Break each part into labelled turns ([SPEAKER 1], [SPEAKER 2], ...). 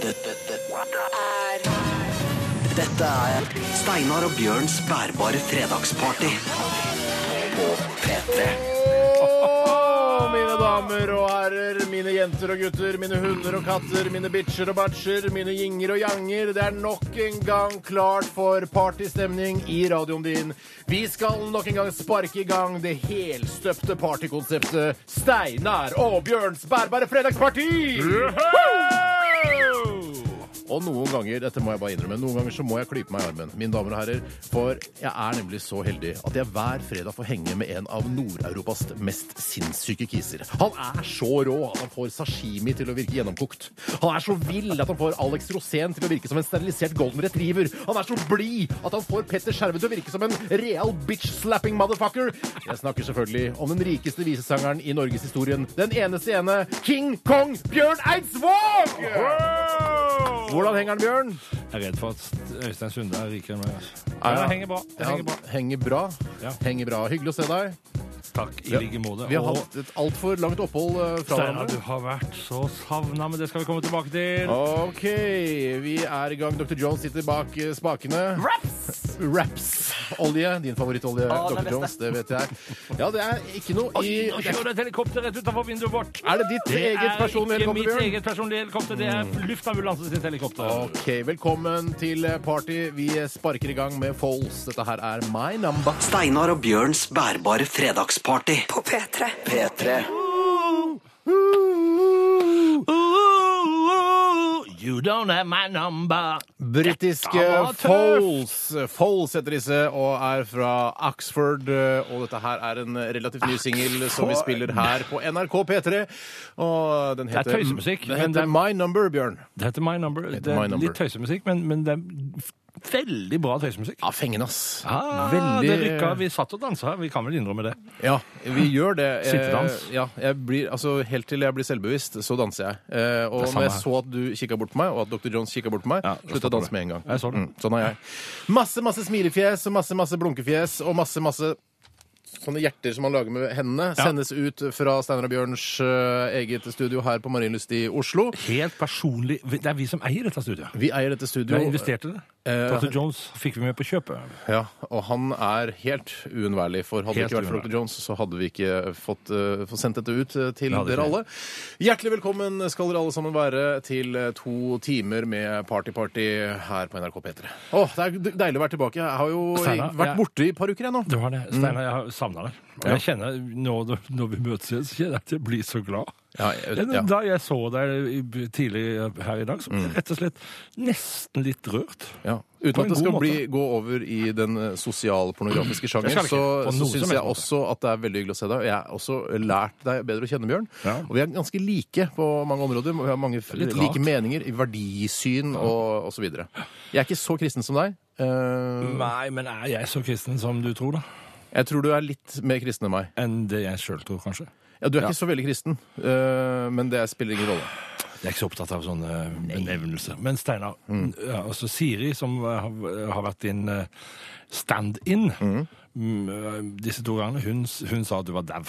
[SPEAKER 1] Dette, dette, er Dette er Steinar og Bjørns bærbare fredagsparty på P3.
[SPEAKER 2] Å, mine damer og herrer, mine jenter og gutter, mine hunder og katter, mine bitcher og batcher, mine ginger og janger. Det er nok en gang klart for partystemning i radioen din. Vi skal nok en gang sparke i gang det helstøpte partykonseptet Steinar og Bjørns bærbare fredagsparty! Woo! Og noen ganger dette må jeg bare innrømme, noen ganger så må jeg klype meg i armen, mine damer og herrer, for jeg er nemlig så heldig at jeg hver fredag får henge med en av Nord-Europas mest sinnssyke kiser. Han er så rå at han får sashimi til å virke gjennomkokt. Han er så vill at han får Alex Rosén til å virke som en sterilisert golden retriever. Han er så blid at han får Petter Skjerve til å virke som en real bitch-slapping motherfucker. Jeg snakker selvfølgelig om den rikeste visesangeren i norgeshistorien, den eneste ene King Kong Bjørn Eidsvåg! Hvordan henger den, Bjørn?
[SPEAKER 3] Jeg er redd for at Øystein Sunde er rikere enn meg. altså.
[SPEAKER 2] Ja,
[SPEAKER 3] Ja, det henger bra. Det henger bra.
[SPEAKER 2] Henger bra.
[SPEAKER 3] Ja.
[SPEAKER 2] Henger bra. Hyggelig å se deg.
[SPEAKER 3] Takk i like måte.
[SPEAKER 2] Vi har
[SPEAKER 3] Og
[SPEAKER 2] hatt et altfor langt opphold eh, fra
[SPEAKER 3] Steinar, du
[SPEAKER 2] hverandre.
[SPEAKER 3] har vært så savna, men det skal vi komme tilbake til.
[SPEAKER 2] OK, vi er i gang. Dr. Jones sitter bak eh, spakene.
[SPEAKER 4] Raps!
[SPEAKER 2] Raps-olje. Din favoritolje,
[SPEAKER 4] Å,
[SPEAKER 2] Dr.
[SPEAKER 4] den beste.
[SPEAKER 2] Jones. Det vet jeg. Ja, det er ikke noe i
[SPEAKER 3] Nå kjører det et helikopter rett utenfor vinduet vårt.
[SPEAKER 2] Er det ditt
[SPEAKER 3] Det
[SPEAKER 2] eget
[SPEAKER 3] er
[SPEAKER 2] personlige
[SPEAKER 3] ikke mitt
[SPEAKER 2] helikopter, Bjørn? Mm.
[SPEAKER 3] eget personlige helikopter, det er luftambulansen sitt helikopter.
[SPEAKER 2] OK, velkommen til eh, party. Vi sparker i gang med Foals. Dette her er My Number.
[SPEAKER 1] Steinar og Bjørns bærbare fredagsparty på P3. P3.
[SPEAKER 3] You don't have my number.
[SPEAKER 2] Britiske
[SPEAKER 3] Dette var tøft!
[SPEAKER 2] Foles. Foles heter disse og er fra Oxford. Og dette her er en relativt ny singel som vi spiller her på NRK P3. Og den
[SPEAKER 3] er
[SPEAKER 2] heter,
[SPEAKER 3] tøysemusikk,
[SPEAKER 2] Den
[SPEAKER 3] men
[SPEAKER 2] heter
[SPEAKER 3] det-
[SPEAKER 2] My Number, Bjørn.
[SPEAKER 3] Det heter My Number.
[SPEAKER 2] heter
[SPEAKER 3] Det
[SPEAKER 2] My
[SPEAKER 3] er
[SPEAKER 2] Number.
[SPEAKER 3] litt tøysemusikk, men, men det er veldig bra tøysemusikk.
[SPEAKER 2] Ja, fengende, ass.
[SPEAKER 3] Ah, det rykka. Vi satt og dansa, vi kan vel innrømme det.
[SPEAKER 2] Ja, vi gjør det. Eh,
[SPEAKER 3] Sittedans.
[SPEAKER 2] Ja, jeg blir, altså, helt til jeg blir selvbevisst, så danser jeg. Eh, og
[SPEAKER 3] Det er samme
[SPEAKER 2] når jeg
[SPEAKER 3] her.
[SPEAKER 2] så at du kikka bort på meg, og at Dr. Jones kikka bort på meg,
[SPEAKER 3] Ja, da
[SPEAKER 2] slutta
[SPEAKER 3] stopper
[SPEAKER 2] å danse
[SPEAKER 3] du.
[SPEAKER 2] med en gang.
[SPEAKER 3] Jeg så det.
[SPEAKER 2] sånn er jeg. Masse, masse smilefjes og masse, masse blunkefjes og masse, masse Sånne hjerter som man lager med hendene,
[SPEAKER 3] Ja.
[SPEAKER 2] sendes ut fra Steinar og Bjørns eh, eget studio her på Marienlyst i Oslo.
[SPEAKER 3] Helt personlig Det er vi som eier dette studioet.
[SPEAKER 2] Vi eier dette
[SPEAKER 3] Vi har
[SPEAKER 2] studioet.
[SPEAKER 3] investert i det. Dr. Jones fikk vi med på kjøpet.
[SPEAKER 2] Ja, og han er helt uunnværlig, for hadde det
[SPEAKER 3] Helt
[SPEAKER 2] ikke vært for
[SPEAKER 3] uunnværlig.
[SPEAKER 2] Dr. Jones, så hadde vi ikke fått, eh, fått sendt dette ut eh, til
[SPEAKER 3] Det hadde
[SPEAKER 2] dere
[SPEAKER 3] ikke.
[SPEAKER 2] alle. Hjertelig velkommen skal dere alle sammen være til eh, to timer med party-party her på NRK P3. Åh, det er d- deilig å være tilbake. Jeg har jo
[SPEAKER 3] Steinar,
[SPEAKER 2] vært
[SPEAKER 3] jeg-
[SPEAKER 2] borte i et par uker jeg nå.
[SPEAKER 3] Det var det. Steinar, jeg har savna deg. Og jeg kjenner, når, når vi møtes igjen, så kjenner jeg at jeg blir så glad.
[SPEAKER 2] Ja, jeg-
[SPEAKER 3] Det-
[SPEAKER 2] ja.
[SPEAKER 3] Da jeg så deg i- tidlig her i dag, så ble jeg rett og slett nesten litt rørt.
[SPEAKER 2] Ja. Uten
[SPEAKER 3] På en
[SPEAKER 2] at det
[SPEAKER 3] god
[SPEAKER 2] skal
[SPEAKER 3] måte.
[SPEAKER 2] bli, gå over i den eh, sosialpornografiske
[SPEAKER 3] Det
[SPEAKER 2] sjangeren,
[SPEAKER 3] skal det ikke,
[SPEAKER 2] så, så
[SPEAKER 3] på noen som
[SPEAKER 2] syns
[SPEAKER 3] helst
[SPEAKER 2] jeg
[SPEAKER 3] måte.
[SPEAKER 2] også at det er veldig hyggelig å se deg. Og Jeg har også lært deg bedre å kjenne, Bjørn.
[SPEAKER 3] Ja.
[SPEAKER 2] Og vi er ganske like på mange områder. Vi har mange f-
[SPEAKER 3] litt rart.
[SPEAKER 2] like meninger i verdisyn og osv. Jeg er ikke så kristen som deg. Eh,
[SPEAKER 3] Nei, men er jeg så kristen som du tror, da?
[SPEAKER 2] Jeg tror du er litt mer kristen enn meg.
[SPEAKER 3] Enn det jeg sjøl tror, kanskje?
[SPEAKER 2] Ja, du er ikke så veldig kristen, eh, men det spiller ingen rolle.
[SPEAKER 3] Jeg er ikke så opptatt av sånne benevnelser. Men Steinar,
[SPEAKER 2] Mm.
[SPEAKER 3] ja, altså Siri, som eh, har, har vært din eh, stand-in mm, eh, disse to gangene, hun, s- hun sa at du var dau.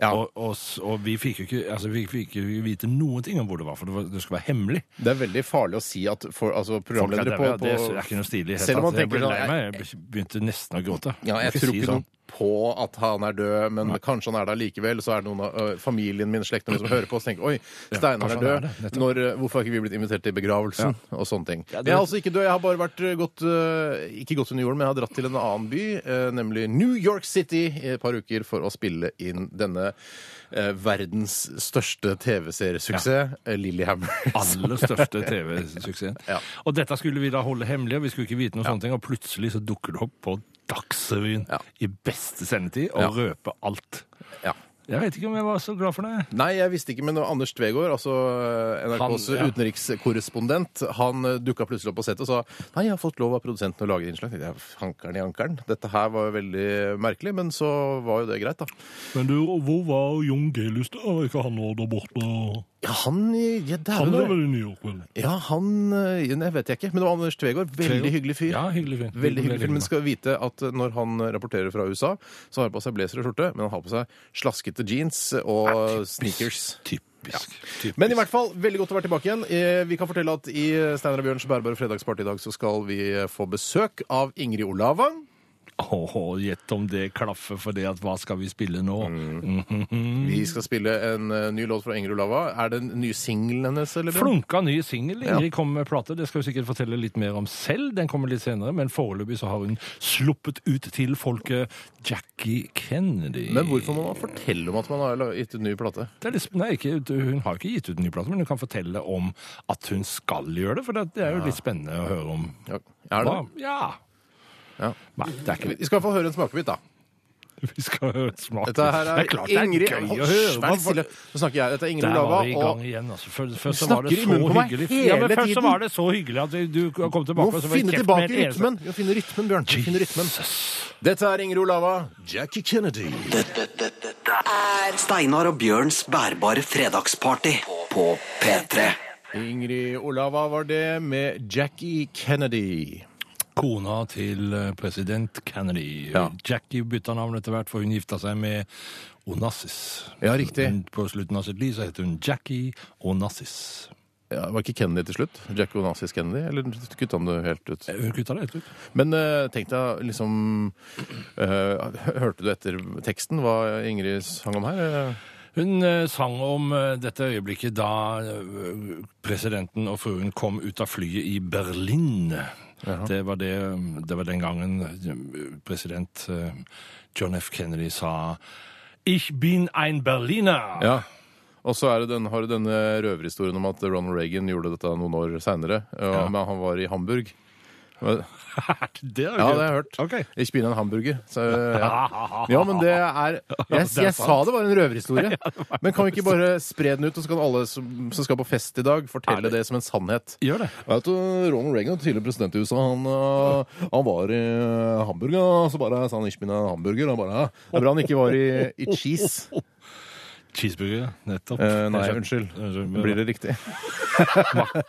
[SPEAKER 2] Ja.
[SPEAKER 3] Og, og, s- og vi fikk jo ikke, altså, vi fikk jo ikke vite noen ting om hvor det var, for det, var, det skulle være hemmelig.
[SPEAKER 2] Det er veldig farlig å si at for, altså,
[SPEAKER 3] Folk er
[SPEAKER 2] programledere
[SPEAKER 3] daue,
[SPEAKER 2] på,
[SPEAKER 3] ja,
[SPEAKER 2] på
[SPEAKER 3] det er ikke noe stilig. i det hele
[SPEAKER 2] Selv om
[SPEAKER 3] tatt.
[SPEAKER 2] man
[SPEAKER 3] jeg ble
[SPEAKER 2] tenker sånn,
[SPEAKER 3] lei meg, jeg begynte nesten å gråte.
[SPEAKER 2] Ja, jeg
[SPEAKER 3] Du kan
[SPEAKER 2] tror ikke
[SPEAKER 3] sånn.
[SPEAKER 2] noe på at han er død, men kanskje han er der likevel. Så er det noen av ø, familien min, slekten min, som hører på og tenker Oi, Steinar
[SPEAKER 3] kanskje
[SPEAKER 2] er
[SPEAKER 3] han er
[SPEAKER 2] død.
[SPEAKER 3] det, nettopp.
[SPEAKER 2] Når, ø, hvorfor har ikke vi blitt invitert til begravelsen? Og sånne ting.
[SPEAKER 3] Ja, det-
[SPEAKER 2] jeg er altså ikke død. Jeg har bare vært ø, gått ø, Ikke gått under jorden, men jeg har dratt til en annen by, ø, nemlig New York City, i et par uker for å spille inn denne ø, verdens største TV-seriesuksess, ja. Lillyhammer.
[SPEAKER 3] aller største TV-suksessen.
[SPEAKER 2] Ja.
[SPEAKER 3] Og dette skulle vi da holde hemmelig, og vi skulle ikke vite noe sånne ting, og plutselig så dukker det opp på Dagsrevyen
[SPEAKER 2] Ja.
[SPEAKER 3] i beste sendetid og røper alt.
[SPEAKER 2] Ja.
[SPEAKER 3] Jeg vet ikke om jeg var så glad for det.
[SPEAKER 2] Nei, jeg visste ikke, men Anders Tvegård, altså eh, NRKs
[SPEAKER 3] Han, ja.
[SPEAKER 2] utenrikskorrespondent, han eh, dukka plutselig opp på settet og sa nei, jeg har fått lov av produsenten å lage et innslag. Jeg, hankeren i ankeren. Dette her var jo veldig merkelig, men så var jo det greit, da.
[SPEAKER 3] Men du, hvor var Jon Gelius da? Var ikke han nå der borte?
[SPEAKER 2] Ja, han ja,
[SPEAKER 3] Han er
[SPEAKER 2] dæven.
[SPEAKER 3] vel i New York, vel?
[SPEAKER 2] Ja, han eh, Nei, vet jeg ikke. Men det var Anders Tvegård. Veldig hyggelig fyr.
[SPEAKER 3] Ja, hyggelig fyr.
[SPEAKER 2] Veldig hyggelig fyr, Men skal vite at eh, når han rapporterer fra USA, så har han på seg blazer og skjorte, men han har på seg slaskete jeans og sneakers.
[SPEAKER 3] Typisk. typisk.
[SPEAKER 2] Men i hvert fall, veldig godt å være tilbake igjen. Eh, Vi kan fortelle at i Steinar og Bjørns bærbare fredagsparty i dag så skal vi eh, få besøk av Ingrid Olavang.
[SPEAKER 3] Åh, gjett om det klaffer for det at hva skal vi spille nå?
[SPEAKER 2] Mm.
[SPEAKER 3] Mm.
[SPEAKER 2] Vi skal spille en eh, ny låt fra Ingrid Olava. Er det den nye singelen hennes? eller? Bjørn?
[SPEAKER 3] Flunka ny singel. Ingrid kommer med plate. Det skal hun sikkert fortelle litt mer om selv. Den kommer litt senere, men foreløpig så har hun sluppet ut til folket Jackie Kennedy.
[SPEAKER 2] Men hvorfor må man fortelle om at man har la- gitt ut ny plate?
[SPEAKER 3] Det er litt, sp- nei, ikke, hun har ikke gitt ut en ny plate, men hun kan fortelle om at hun skal gjøre det. For det det er jo litt spennende å høre om.
[SPEAKER 2] Ja, Er det?
[SPEAKER 3] Hva? Ja.
[SPEAKER 2] Ja.
[SPEAKER 3] Nei, det er ikke
[SPEAKER 2] Vi skal i hvert fall høre en smakebit, da.
[SPEAKER 3] Vi skal høre et smak.
[SPEAKER 2] Dette her er,
[SPEAKER 3] det er klart det
[SPEAKER 2] Ingrid
[SPEAKER 3] er gøy
[SPEAKER 2] Hold,
[SPEAKER 3] å høre.
[SPEAKER 2] vær
[SPEAKER 3] Hva-
[SPEAKER 2] litt stille. Nå snakker jeg. Dette er Ingrid
[SPEAKER 3] Der
[SPEAKER 2] Olava.
[SPEAKER 3] var vi i gang
[SPEAKER 2] Og
[SPEAKER 3] igjen. Altså. Først, først
[SPEAKER 2] Du
[SPEAKER 3] så var det
[SPEAKER 2] snakker i
[SPEAKER 3] så
[SPEAKER 2] munnen på meg
[SPEAKER 3] hyggelig.
[SPEAKER 2] hele
[SPEAKER 3] Ja, men først så
[SPEAKER 2] tiden.
[SPEAKER 3] var det så hyggelig at du kom tilbake.
[SPEAKER 2] må
[SPEAKER 3] og så var det
[SPEAKER 2] finne
[SPEAKER 3] kjeft
[SPEAKER 2] tilbake
[SPEAKER 3] med et eneste-
[SPEAKER 2] rytmen. Vi må finne rytmen, Bjørn. Vi finner rytmen. Dette er Ingrid Olava. Jackie Kennedy.
[SPEAKER 1] Dette, dette, dette er Steinar og Bjørns bærbare fredagsparty på P3.
[SPEAKER 2] Ingrid Olava var det, med Jackie Kennedy.
[SPEAKER 3] Kona til eh, president Kennedy.
[SPEAKER 2] Ja.
[SPEAKER 3] Jackie bytta navn etter hvert, for hun gifta seg med Onassis.
[SPEAKER 2] Ja, riktig.
[SPEAKER 3] Hun- På slutten av sitt liv så heter hun Jackie Onassis.
[SPEAKER 2] Ja, var ikke Kennedy til slutt? Jack Onassis Kennedy? Eller kutta han det helt ut?
[SPEAKER 3] Hun kutta det helt ut.
[SPEAKER 2] Men eh, tenk deg liksom eh, Hørte du etter teksten hva Ingrid sang om her? eh?
[SPEAKER 3] Hun eh, sang om eh, dette øyeblikket da eh, presidenten og fruen kom ut av flyet i Berlin. Det, var det, det var den gangen eh, president eh, John F. Kennedy sa Ich bin ein Berliner!
[SPEAKER 2] Ja. Og så er det den, har du denne røverhistorien om at Ronald Reagan gjorde dette noen år seinere. Men han var i Hamburg. Ja,
[SPEAKER 3] det har
[SPEAKER 2] det har jeg hørt.
[SPEAKER 3] Ok.
[SPEAKER 2] Ikke begynn en hamburger. Så, ja. ja, men det er Jeg, jeg sa det var en røverhistorie. Men kan vi ikke bare spre den ut, og så kan alle som, som skal på fest i dag, fortelle det som en sannhet?
[SPEAKER 3] Gjør det.
[SPEAKER 2] Jeg vet du, Ronald Reagan, tidligere president i USA, han, øh, han var i eh, Hamburg, og så bare sa han ikke min hamburger. Han bare, det er bra han ikke var i, i cheese.
[SPEAKER 3] Cheeseburger, ja. nettopp.
[SPEAKER 2] Eh, nei, unnskyld. Blir det riktig?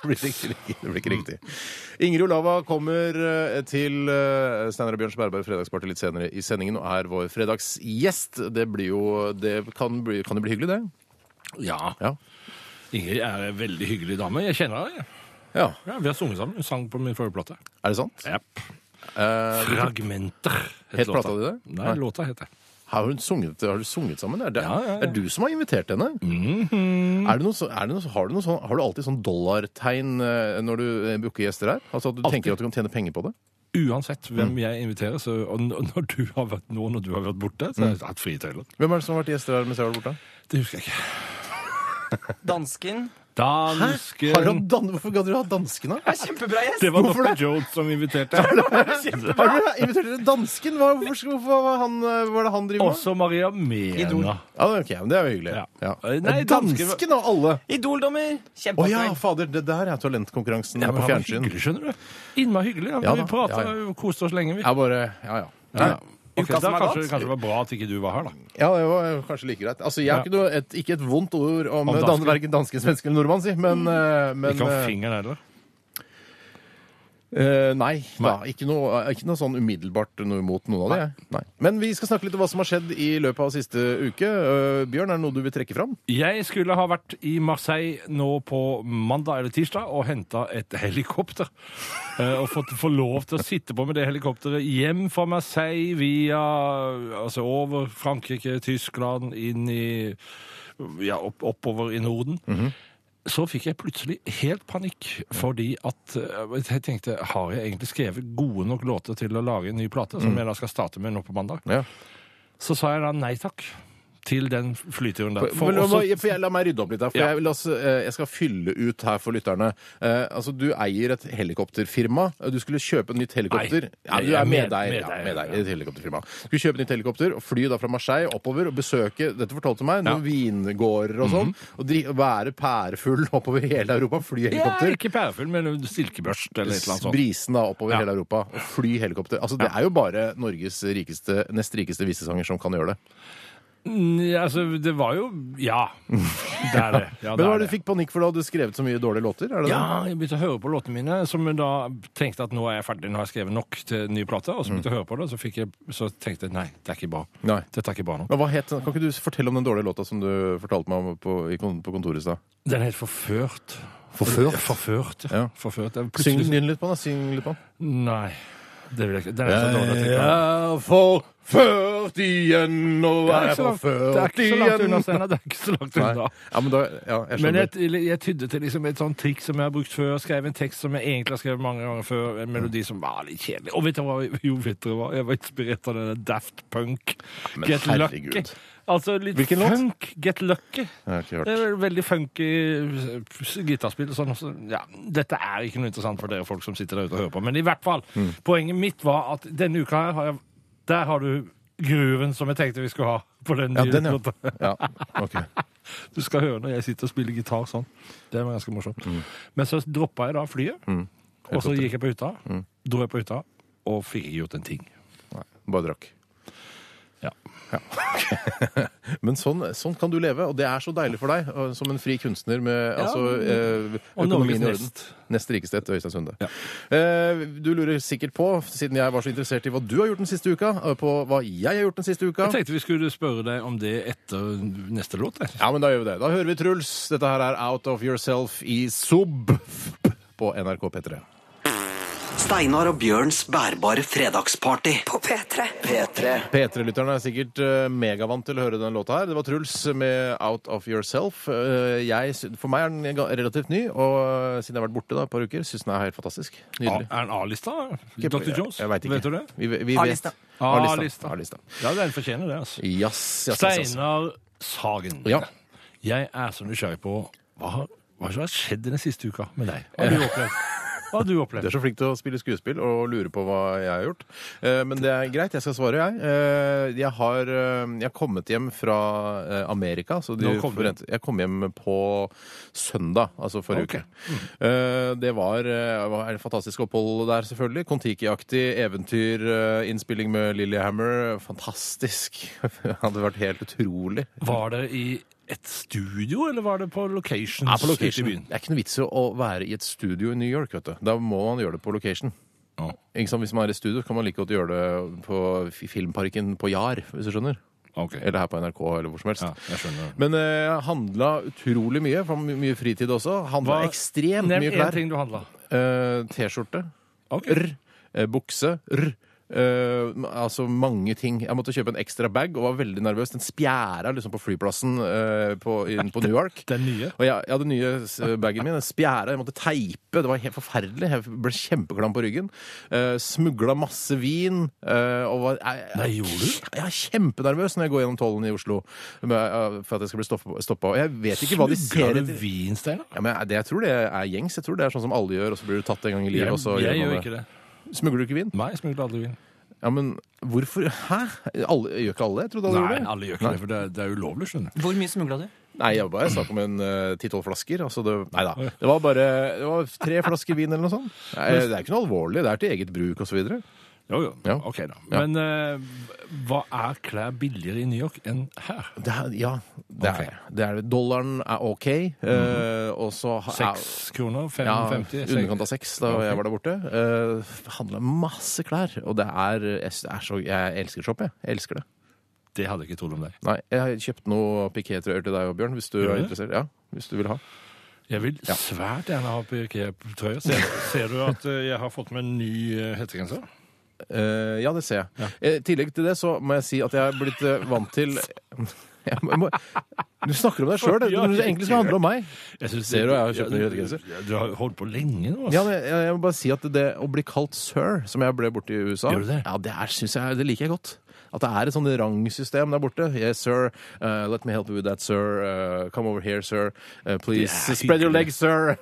[SPEAKER 2] blir det, ikke, riktig? det blir ikke riktig. Ingrid Olava kommer eh, til eh, Steinar og Bjørns Berberg fredagsparty litt senere i sendingen og er vår fredagsgjest. Det, blir jo, det kan, bli, kan det bli hyggelig, det?
[SPEAKER 3] Ja.
[SPEAKER 2] Ja.
[SPEAKER 3] Ingrid er en veldig hyggelig dame. Jeg kjenner henne. jeg.
[SPEAKER 2] ja.
[SPEAKER 3] Ja, vi har sunget sammen. Hun sang på min forrige plate.
[SPEAKER 2] Er det sant? Eh,
[SPEAKER 3] Fragmenter.
[SPEAKER 2] Het plata di det?
[SPEAKER 3] Nei, låta heter det.
[SPEAKER 2] har, hun sunget, har du sunget sammen? Er det,
[SPEAKER 3] Ja, ja, ja.
[SPEAKER 2] er du som har invitert henne?
[SPEAKER 3] Mhm.
[SPEAKER 2] er det noe, så- er det noe, har, du noe sånn, har du alltid sånn dollartegn eh, når du eh, booker gjester her? Altså at du tenker at du kan tjene penger på det?
[SPEAKER 3] Uansett hvem jeg inviterer, så, og n- når du har vært, nå når du har vært borte, så
[SPEAKER 2] Mm.
[SPEAKER 3] har jeg hatt frie tøyler.
[SPEAKER 2] Hvem er det som har vært gjester her mens jeg har vært borte?
[SPEAKER 3] Det husker jeg ikke.
[SPEAKER 4] Dansken.
[SPEAKER 2] Har du
[SPEAKER 3] Dansken
[SPEAKER 2] hatt dan Hvorfor gadd du ha danskene?
[SPEAKER 4] Det er kjempebra gjest!
[SPEAKER 3] Det var Dr. Jones som inviterte.
[SPEAKER 2] Har dere invitert dere dansken? Hva, hvorfor, skal- hvorfor, hva, han, eh, hva er det han driver med?
[SPEAKER 3] Også Maria Mena.
[SPEAKER 2] Ja, det er ok, men Det er jo hyggelig.
[SPEAKER 3] Ja.
[SPEAKER 2] Ja.
[SPEAKER 3] Eh, nei,
[SPEAKER 2] dansken
[SPEAKER 3] dansken
[SPEAKER 2] av alle!
[SPEAKER 4] Idoldommer.
[SPEAKER 2] Å
[SPEAKER 4] Kjempeopplegg.
[SPEAKER 2] ja, fader. Det der er talentkonkurransen
[SPEAKER 3] Ja, men
[SPEAKER 2] på
[SPEAKER 3] han var
[SPEAKER 2] fjernsyn.
[SPEAKER 3] hyggelig, skjønner du. Innmari hyggelig. Ja.
[SPEAKER 2] Ja
[SPEAKER 3] vi
[SPEAKER 2] da,
[SPEAKER 3] prata
[SPEAKER 2] ja, ja.
[SPEAKER 3] og koste oss lenge, vi.
[SPEAKER 2] Jeg bare Ja, ja.
[SPEAKER 3] Ja.
[SPEAKER 2] Ja,
[SPEAKER 3] Ok,
[SPEAKER 4] Uka
[SPEAKER 3] da
[SPEAKER 4] som er
[SPEAKER 3] kanskje,
[SPEAKER 4] gått.
[SPEAKER 3] kanskje det var bra at ikke du var her, da.
[SPEAKER 2] ja, det var kanskje like greit. Altså, Jeg har ikke, noe, et, ikke et vondt ord om,
[SPEAKER 3] Om
[SPEAKER 2] eh,
[SPEAKER 3] dansken.
[SPEAKER 2] dan- verken danske, svenske eller nordmann, si, men, eh, men
[SPEAKER 3] Ikke om
[SPEAKER 2] eh,
[SPEAKER 3] fingeren heller.
[SPEAKER 2] Eh, nei, Da, ikke, noe, ikke noe sånn umiddelbart noe imot noen av det. jeg. Nei. Men vi skal snakke litt om hva som har skjedd i løpet av siste uke. Eh, Bjørn, er det noe du vil trekke fram?
[SPEAKER 3] Jeg skulle ha vært i Marseille nå på mandag eller tirsdag og henta et helikopter. Eh, Og fått få lov til å sitte på med det helikopteret hjem fra Marseille via Altså over Frankrike, Tyskland, inn i Ja, opp, oppover i Norden. Så fikk jeg plutselig helt panikk, fordi at eh, jeg tenkte Har jeg egentlig skrevet gode nok låter til å lage en ny plate, som jeg da skal starte med nå på mandag?
[SPEAKER 2] Ja.
[SPEAKER 3] Så sa jeg da nei takk til den flyturen der.
[SPEAKER 2] For, la,
[SPEAKER 3] også-
[SPEAKER 2] meg- for jeg, la meg rydde opp litt her, for
[SPEAKER 3] Ja.
[SPEAKER 2] jeg, vil altså, eh, jeg skal fylle ut her for lytterne. Eh, altså, Du eier et helikopterfirma. Eh, Du skulle kjøpe et nytt helikopter. ja,
[SPEAKER 3] Nei,
[SPEAKER 2] du
[SPEAKER 3] jeg er
[SPEAKER 2] er
[SPEAKER 3] med-
[SPEAKER 2] medeier ja,
[SPEAKER 3] medeier,
[SPEAKER 2] medeier
[SPEAKER 3] ja.
[SPEAKER 2] i et helikopterfirma. Skulle kjøpe et nytt helikopter og fly da fra Marseille oppover og besøke dette fortalte du meg, noen vingårder og sånn. Og dri, være pærefull oppover hele Europa. Fly helikopter.
[SPEAKER 3] Mhm. Ja, ikke pærefull, men silkebørst eller et eller annet sånt.
[SPEAKER 2] Brisen da oppover
[SPEAKER 3] Ja.
[SPEAKER 2] hele Europa. Og fly helikopter. Altså, Det er jo bare Norges rikeste, nest rikeste visesanger som kan gjøre det.
[SPEAKER 3] Nja, altså, det var jo Ja. Det er det. Ja,
[SPEAKER 2] Men
[SPEAKER 3] det
[SPEAKER 2] hva
[SPEAKER 3] er
[SPEAKER 2] er det
[SPEAKER 3] det.
[SPEAKER 2] du fikk panikk for da? Hadde du skrevet så mye dårlige låter? Er det det?
[SPEAKER 3] Ja, jeg begynte å høre på låtene mine, som jeg da tenkte at nå er jeg ferdig, nå har jeg skrevet nok til ny plate. Og så begynte jeg å høre på det, og så, fikk jeg, så tenkte jeg nei, det er ikke bra.
[SPEAKER 2] Nei.
[SPEAKER 3] Dette er ikke bra nå.
[SPEAKER 2] Men hva het, kan ikke du fortelle om den dårlige låta som du fortalte meg om på, i kon- på kontoret i stad?
[SPEAKER 3] Den er helt forført.
[SPEAKER 2] Forført?
[SPEAKER 3] Forført, ja.
[SPEAKER 2] Ja.
[SPEAKER 3] Forført. Jeg
[SPEAKER 2] Syng
[SPEAKER 3] plutselig-
[SPEAKER 2] nynn litt på den. da, Syng litt på den.
[SPEAKER 3] Nei, det vil jeg ikke. Den er så dårlig at jeg kan.
[SPEAKER 2] er forført igjen, og
[SPEAKER 3] Det er ikke så langt- det er ikke så langt unna, Steinar. Det er ikke så langt
[SPEAKER 2] Nei.
[SPEAKER 3] unna.
[SPEAKER 2] Ja, men da, ja, jeg
[SPEAKER 3] Men
[SPEAKER 2] skjønner.
[SPEAKER 3] jeg, jeg tydde til liksom et sånt trikk som jeg har brukt før. Skrev en tekst som jeg egentlig har skrevet mange ganger før. En melodi som var litt kjedelig. Og vet du hva jo fettere var? Jeg var inspirert av denne Daft Punk.
[SPEAKER 2] Men
[SPEAKER 3] Get
[SPEAKER 2] herregud.
[SPEAKER 3] Lucky. Altså litt
[SPEAKER 2] Hvilken låt?
[SPEAKER 3] funk. Get Lucky.
[SPEAKER 2] Jeg har ikke hørt.
[SPEAKER 3] Det er veldig funky s- gitarspill og sånn. også. Ja, dette er ikke noe interessant for dere folk som sitter der ute og hører på, men i hvert fall.
[SPEAKER 2] Mm.
[SPEAKER 3] Poenget mitt var at denne uka her har jeg Der har du grooven som jeg tenkte vi skulle ha på den
[SPEAKER 2] Ja,
[SPEAKER 3] nye
[SPEAKER 2] den,
[SPEAKER 3] låta.
[SPEAKER 2] ja. ja. ok.
[SPEAKER 3] Du skal høre når jeg sitter og spiller gitar sånn. Det var ganske morsomt. Men så droppa jeg da flyet, og så gikk jeg på hytta. Dro jeg på hytta, Mm. og fikk ikke gjort en ting.
[SPEAKER 2] Nei, bare drakk.
[SPEAKER 3] Ja.
[SPEAKER 2] Men sånn, sånn kan du leve, og det er så deilig for deg og som en fri kunstner med altså, eh,
[SPEAKER 3] Og Norges
[SPEAKER 2] økonomien i orden.
[SPEAKER 3] nest.
[SPEAKER 2] Nest rikeste etter Øystein Sunde. Eh, du lurer sikkert på, siden jeg var så interessert i hva du har gjort den siste uka, eh, på hva jeg har gjort den siste uka.
[SPEAKER 3] Jeg tenkte vi skulle spørre deg om det etter neste låt. jeg.
[SPEAKER 2] Ja, men da gjør vi det. Da hører vi Truls. Dette her er Out of Yourself i Sob på NRK P3.
[SPEAKER 1] Steinar og Bjørns bærbare fredagsparty.
[SPEAKER 5] På P3.
[SPEAKER 1] P3.
[SPEAKER 2] P3-lytterne er sikkert eh, megavant til å høre denne låta her. Det var Truls med 'Out of Yourself'. Eh, jeg, sy- for meg er den ga- relativt ny, og eh, siden jeg har vært borte da et par uker, syns den er helt fantastisk.
[SPEAKER 3] Ja,
[SPEAKER 2] Nydelig.
[SPEAKER 3] Er den A-lista?
[SPEAKER 2] Ikke-
[SPEAKER 3] Dr. Jones?
[SPEAKER 2] Jeg, jeg vet ikke.
[SPEAKER 3] du det?
[SPEAKER 2] Vi, vi
[SPEAKER 4] A-lista.
[SPEAKER 2] vet. A-lista.
[SPEAKER 3] A-lista.
[SPEAKER 2] A-lista.
[SPEAKER 3] Ja, den fortjener det, altså.
[SPEAKER 2] Yes, yes, yes, yes.
[SPEAKER 3] Steinar Sagen.
[SPEAKER 2] Ja.
[SPEAKER 3] Jeg er så nysgjerrig på hva har, hva som har skjedd den siste uka med deg. Hva har du opplevd? Hva har du
[SPEAKER 2] Du er
[SPEAKER 3] opplevd?
[SPEAKER 2] så flink til å spille skuespill og lure på hva jeg har gjort. Eh, Men det er greit, jeg skal svare, jeg. Eh, Jeg har, eh, jeg har kommet hjem fra eh, Amerika. Så de
[SPEAKER 3] Når kom du hjem?
[SPEAKER 2] forente- Jeg kom hjem på søndag, altså forrige
[SPEAKER 3] Ok.
[SPEAKER 2] uke. Eh, Det var, eh, var et fantastisk opphold der, selvfølgelig. Kon-Tiki-aktig eventyr, eh, innspilling med Lillehammer. Fantastisk. Det hadde vært helt utrolig.
[SPEAKER 3] Var det i et studio, eller var det på locations?
[SPEAKER 2] Ja, på location.
[SPEAKER 3] ute i byen?
[SPEAKER 2] Det er ikke noe vits i å være i et studio i New York. vet du. Da må man gjøre det på location.
[SPEAKER 3] Ja.
[SPEAKER 2] Ikke sant? Hvis man er i studio, kan man like godt gjøre det på f- Filmparken på Jar. hvis du skjønner.
[SPEAKER 3] Ok.
[SPEAKER 2] Eller her på NRK, eller hvor som helst.
[SPEAKER 3] Ja, jeg skjønner.
[SPEAKER 2] Men eh, handla utrolig mye. For mye fritid også. Handla
[SPEAKER 3] Hva-
[SPEAKER 2] ekstremt
[SPEAKER 3] Nevn
[SPEAKER 2] mye
[SPEAKER 3] én
[SPEAKER 2] klær.
[SPEAKER 3] ting du handla.
[SPEAKER 2] Eh, T-skjorte.
[SPEAKER 3] Okay.
[SPEAKER 2] R. Eh, bukse. R. Eh, altså mange ting. Jeg måtte kjøpe en ekstra bag og var veldig nervøs. Den spjæra liksom på flyplassen eh, på, inn på Newark.
[SPEAKER 3] Den nye?
[SPEAKER 2] Og jeg, jeg hadde nye s- bagen min, en spjære, jeg måtte teipe, det var helt forferdelig. Jeg ble kjempeklam på ryggen. Uh, Smugla masse vin. eh, og var, jeg, jeg,
[SPEAKER 3] Nei, gjorde du?
[SPEAKER 2] Jeg er kjempenervøs når jeg går gjennom tollen i Oslo med, eh, for at jeg skal bli stoppa. Og jeg vet ikke hva de ser
[SPEAKER 3] Smugler du
[SPEAKER 2] etter.
[SPEAKER 3] vin, Steinar?
[SPEAKER 2] Ja, men det, jeg tror det er gjengs. Jeg tror det er sånn som alle gjør, og så blir du tatt en gang i livet.
[SPEAKER 3] Jeg,
[SPEAKER 2] og så
[SPEAKER 3] jeg
[SPEAKER 2] man
[SPEAKER 3] gjør
[SPEAKER 2] det.
[SPEAKER 3] ikke det.
[SPEAKER 2] Smugler du ikke vin?
[SPEAKER 3] Nei, jeg smugler aldri vin.
[SPEAKER 2] Ja, men hvorfor? Hæ? Alle, gjør ikke alle? Jeg trodde alle
[SPEAKER 3] Nei,
[SPEAKER 2] gjorde det.
[SPEAKER 3] alle gjør ikke det, for det er, det er ulovlig, skjønner du.
[SPEAKER 4] Hvor mye smugla du?
[SPEAKER 2] Nei, jeg bare snakk om en ti-tolv flasker. Altså det, nei da. Det var bare det var tre flasker vin eller noe sånt. Nei, det er ikke noe alvorlig. Det er til eget bruk osv.
[SPEAKER 3] Jo, jo.
[SPEAKER 2] Ja.
[SPEAKER 3] Ok, da.
[SPEAKER 2] Ja.
[SPEAKER 3] Men eh, hva er klær billigere i New York enn her?
[SPEAKER 2] Ja, det er,
[SPEAKER 3] Ok.
[SPEAKER 2] det er Dollaren er OK, eh, og så ha-
[SPEAKER 3] Seks kroner? Fem,
[SPEAKER 2] Ja,
[SPEAKER 3] femti?
[SPEAKER 2] underkant av seks da
[SPEAKER 3] Ok.
[SPEAKER 2] jeg var der borte. Uh, Handla masse klær. Og det er, jeg, det er så, jeg elsker shop, jeg. jeg elsker det.
[SPEAKER 3] Det hadde jeg ikke trodd om deg.
[SPEAKER 2] Nei, jeg har kjøpt noe pikétrøyer til deg og Bjørn, hvis du
[SPEAKER 3] Gjør
[SPEAKER 2] er
[SPEAKER 3] du?
[SPEAKER 2] interessert. Ja, hvis du vil ha.
[SPEAKER 3] Jeg vil svært gjerne ha PK-trøye. Ser, ser du at eh, jeg har fått med en ny eh, hettegenser?
[SPEAKER 2] Eh, ja, det ser jeg. Eh, I tillegg til det så må jeg si at jeg er blitt eh, vant til jeg må, jeg må, Du snakker om deg sjøl, når det egentlig skal handle om meg.
[SPEAKER 3] Jeg synes
[SPEAKER 2] Ser du, jeg har kjøpt ny
[SPEAKER 3] Ja,
[SPEAKER 2] hettegenser.
[SPEAKER 3] ja, Du har holdt på lenge nå.
[SPEAKER 2] Ja,
[SPEAKER 3] altså.
[SPEAKER 2] men jeg, jeg må bare si at det å bli kalt sir, som jeg ble borte i USA,
[SPEAKER 3] Gjør du det?
[SPEAKER 2] Ja, det, er, synes jeg, det liker jeg godt. At det er et sånn rangsystem der borte. Yes, sir. Eh, let me help you with that, sir. Eh, come over here, sir. Eh, please
[SPEAKER 3] Det er
[SPEAKER 2] spread your
[SPEAKER 3] hyggelig.
[SPEAKER 2] legs, sir.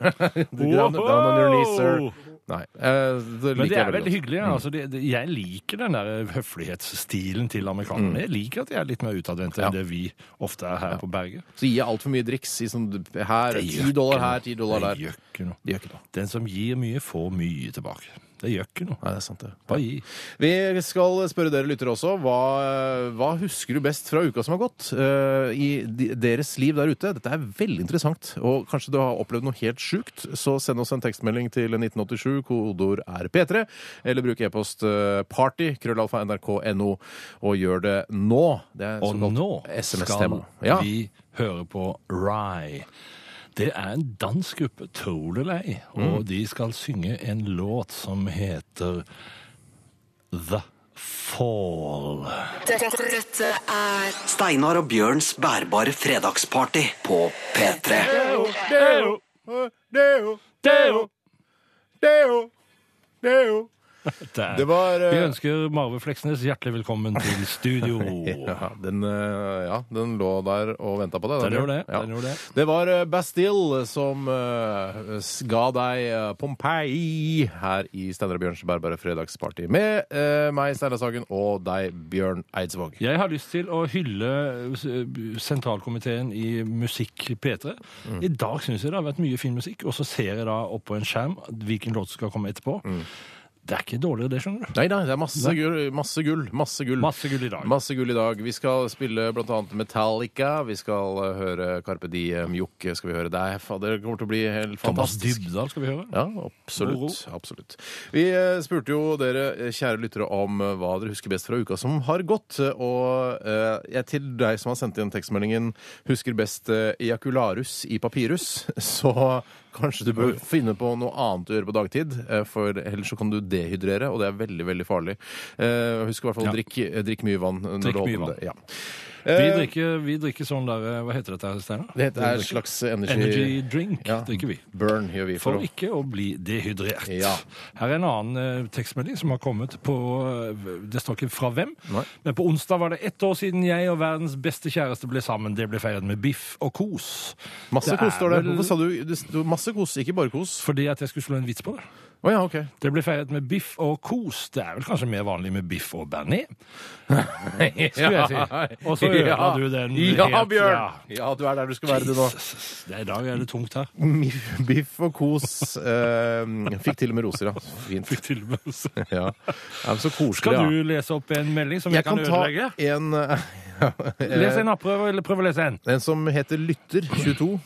[SPEAKER 2] down, down on your knees, sir.
[SPEAKER 3] Wow!
[SPEAKER 2] Nei, eh, det liker
[SPEAKER 3] Men det
[SPEAKER 2] jeg
[SPEAKER 3] er veldig
[SPEAKER 2] godt.
[SPEAKER 3] hyggelig. ja. Altså, det, det, jeg liker den der eh, høflighetsstilen til amerikanerne. Jeg liker at de er litt mer utadvendte
[SPEAKER 2] Mm. Ja.
[SPEAKER 3] enn det vi ofte er her på berget.
[SPEAKER 2] Så gir jeg altfor mye driks i sånn her.
[SPEAKER 3] Det gjør
[SPEAKER 2] Ti dollar
[SPEAKER 3] ikke noe.
[SPEAKER 2] her, ti dollar
[SPEAKER 3] Det
[SPEAKER 2] der.
[SPEAKER 3] gjør ikke noe.
[SPEAKER 2] Det gjør ikke noe.
[SPEAKER 3] Den som gir mye, får mye tilbake. Det gjør ikke noe.
[SPEAKER 2] Nei, det er sant det.
[SPEAKER 3] Bare gi.
[SPEAKER 2] Vi skal spørre dere lyttere også. Hva, hva husker du best fra uka som har gått eh, i de- deres liv der ute? Dette er veldig interessant. Og kanskje du har opplevd noe helt sjukt, så send oss en tekstmelding til 1987, kodeord er P3, eller bruk e-post eh, party, krøllalfa nrk.no, og gjør det nå. Det er
[SPEAKER 3] Og nå skal
[SPEAKER 2] SMS-tema. Ja.
[SPEAKER 3] vi høre på Rye. Det er en dansk gruppe, tror det eller ei,
[SPEAKER 2] Mm.
[SPEAKER 3] og de skal synge en låt som heter The Fall.
[SPEAKER 5] Dette, dette er
[SPEAKER 1] Steinar og Bjørns bærbare fredagsparty på P3.
[SPEAKER 2] Deo, deo, deo, deo.
[SPEAKER 3] Der.
[SPEAKER 2] Det var eh,
[SPEAKER 3] Vi ønsker Marve Fleksnes hjertelig velkommen til studio.
[SPEAKER 2] Ja, den, eh, ja, den lå der og venta på deg.
[SPEAKER 3] Den gjorde det,
[SPEAKER 2] Ja.
[SPEAKER 3] den gjorde det.
[SPEAKER 2] var eh, Bastille som eh, s- ga deg eh, Pompeii her i Steinar og Bjørns bærbare fredagsparty med eh, meg, Steinar Sagen, og deg, Bjørn Eidsvåg.
[SPEAKER 3] Jeg har lyst til å hylle eh, sentralkomiteen i musikk P3.
[SPEAKER 2] Mm.
[SPEAKER 3] I dag syns jeg det har vært mye fin musikk, og så ser jeg da oppå en skjerm hvilken låt som skal komme etterpå.
[SPEAKER 2] Mm.
[SPEAKER 3] Det er ikke dårligere, det, skjønner du.
[SPEAKER 2] Nei da, det er masse gull, masse gull. Masse gull.
[SPEAKER 3] Masse gull i dag.
[SPEAKER 2] Masse gull i dag. Vi skal spille blant annet Metallica. Vi skal eh, høre Carpe Diem, Jokke skal vi høre deg. Fader, det kommer til å bli helt
[SPEAKER 3] Thomas
[SPEAKER 2] fantastisk.
[SPEAKER 3] Dybdahl skal vi høre.
[SPEAKER 2] Ja, absolutt. absolutt. Vi eh, spurte jo dere, eh, kjære lyttere, om eh, hva dere husker best fra uka som har gått. eh, Og eh, jeg til deg som har sendt inn tekstmeldingen 'husker best eh, ejakularus i papirus', så kanskje du bør finne på noe annet å gjøre på dagtid. eh, For ellers så kan du dehydrere, og det er veldig, veldig farlig. Eh, Husk i hvert fall å
[SPEAKER 3] Ja.
[SPEAKER 2] drikke, eh, drikke mye vann. når
[SPEAKER 3] Drikk
[SPEAKER 2] du
[SPEAKER 3] mye
[SPEAKER 2] åpner
[SPEAKER 3] vann.
[SPEAKER 2] det. Ja.
[SPEAKER 3] Vi
[SPEAKER 2] Eh,
[SPEAKER 3] drikker, vi drikker sånn der eh, Hva heter dette, her, Steinar?
[SPEAKER 2] Det er en slags energy,
[SPEAKER 3] Energy drink
[SPEAKER 2] Ja.
[SPEAKER 3] drikker vi.
[SPEAKER 2] Burn gjør vi.
[SPEAKER 3] For
[SPEAKER 2] å-
[SPEAKER 3] ikke å bli dehydrert.
[SPEAKER 2] Ja.
[SPEAKER 3] Her er en annen eh, tekstmelding som har kommet på eh, Det står ikke fra hvem,
[SPEAKER 2] Nei.
[SPEAKER 3] men på onsdag var det ett år siden jeg og verdens beste kjæreste ble sammen. Det ble feiret med biff og kos.
[SPEAKER 2] Masse
[SPEAKER 3] Det
[SPEAKER 2] kos
[SPEAKER 3] er
[SPEAKER 2] står det.
[SPEAKER 3] vel-
[SPEAKER 2] Hvorfor sa du, det sto masse kos, ikke bare kos?
[SPEAKER 3] Fordi at jeg skulle slå en vits på det.
[SPEAKER 2] Å ja, ok.
[SPEAKER 3] Det ble feiret med biff og kos. Det er vel kanskje mer vanlig med biff og bearnés? Skulle jeg si. Og så ødela du den
[SPEAKER 2] Ja,
[SPEAKER 3] helt,
[SPEAKER 2] Bjørn!
[SPEAKER 3] ja.
[SPEAKER 2] Ja, du er der du skal være, du nå.
[SPEAKER 3] Det er- I dag er det tungt her.
[SPEAKER 2] Mif- Biff og kos. eh, fikk til og med roser, ja. Fint.
[SPEAKER 3] Til og med.
[SPEAKER 2] Ja. Ja, men så koselig,
[SPEAKER 3] Skal
[SPEAKER 2] ja.
[SPEAKER 3] du lese opp en melding som
[SPEAKER 2] Jeg
[SPEAKER 3] jeg kan
[SPEAKER 2] kan ta
[SPEAKER 3] ødelegge?
[SPEAKER 2] en eh,
[SPEAKER 3] Les en apprøve, eller prøv å lese en.
[SPEAKER 2] En som heter Lytter22.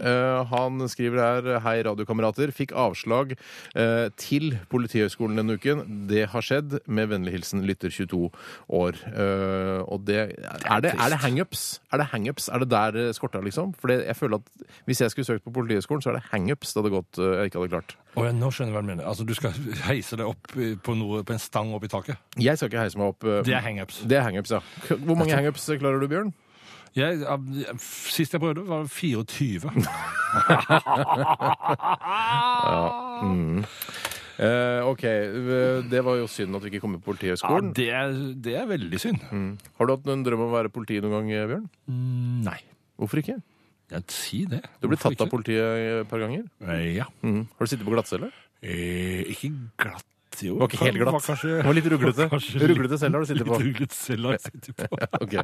[SPEAKER 2] Eh, han skriver her Hei, radiokamerater. Fikk avslag eh, til Politihøgskolen denne uken. Det har skjedd. Med vennlig hilsen Lytter22 år. Eh, og det Er det, er det hangups? Er det hangups? Er det der det skorta, liksom? For jeg føler at hvis jeg skulle søkt på Politihøgskolen, så er det hangups det hadde gått eh, jeg ikke hadde klart.
[SPEAKER 3] Å, ja, nå skjønner jeg hva du mener. Altså, du skal heise det opp eh, på, noe, på en stang opp i taket.
[SPEAKER 2] Jeg skal ikke heise meg opp. eh,
[SPEAKER 3] Det er hangups.
[SPEAKER 2] det er hangups, ja. K- Hvor mange hangups klarer du, Bjørn?
[SPEAKER 3] Jeg, eh, sist jeg prøvde, var 24.
[SPEAKER 2] Eh, OK. eh, Det var jo synd at vi ikke kom på
[SPEAKER 3] Ja,
[SPEAKER 2] Politihøgskolen.
[SPEAKER 3] det, er, det er veldig synd.
[SPEAKER 2] Har du hatt en drøm om å være politi noen gang, eh, Bjørn?
[SPEAKER 3] Nei.
[SPEAKER 2] Hvorfor ikke?
[SPEAKER 3] Jeg, si det.
[SPEAKER 2] Du ble
[SPEAKER 3] Hvorfor
[SPEAKER 2] tatt av Mm.
[SPEAKER 3] ikke?
[SPEAKER 2] politiet et par ganger.
[SPEAKER 3] Eh, Ja.
[SPEAKER 2] Har du sittet på glattcelle?
[SPEAKER 3] Eh, ikke glatt, jo.
[SPEAKER 2] Det var ikke helt glatt.
[SPEAKER 3] Var kanskje,
[SPEAKER 2] Det var litt ruglete.
[SPEAKER 3] kanskje
[SPEAKER 2] Ruglete celle har du sittet på.
[SPEAKER 3] Litt ruglete celle har jeg sittet på.
[SPEAKER 2] Ok,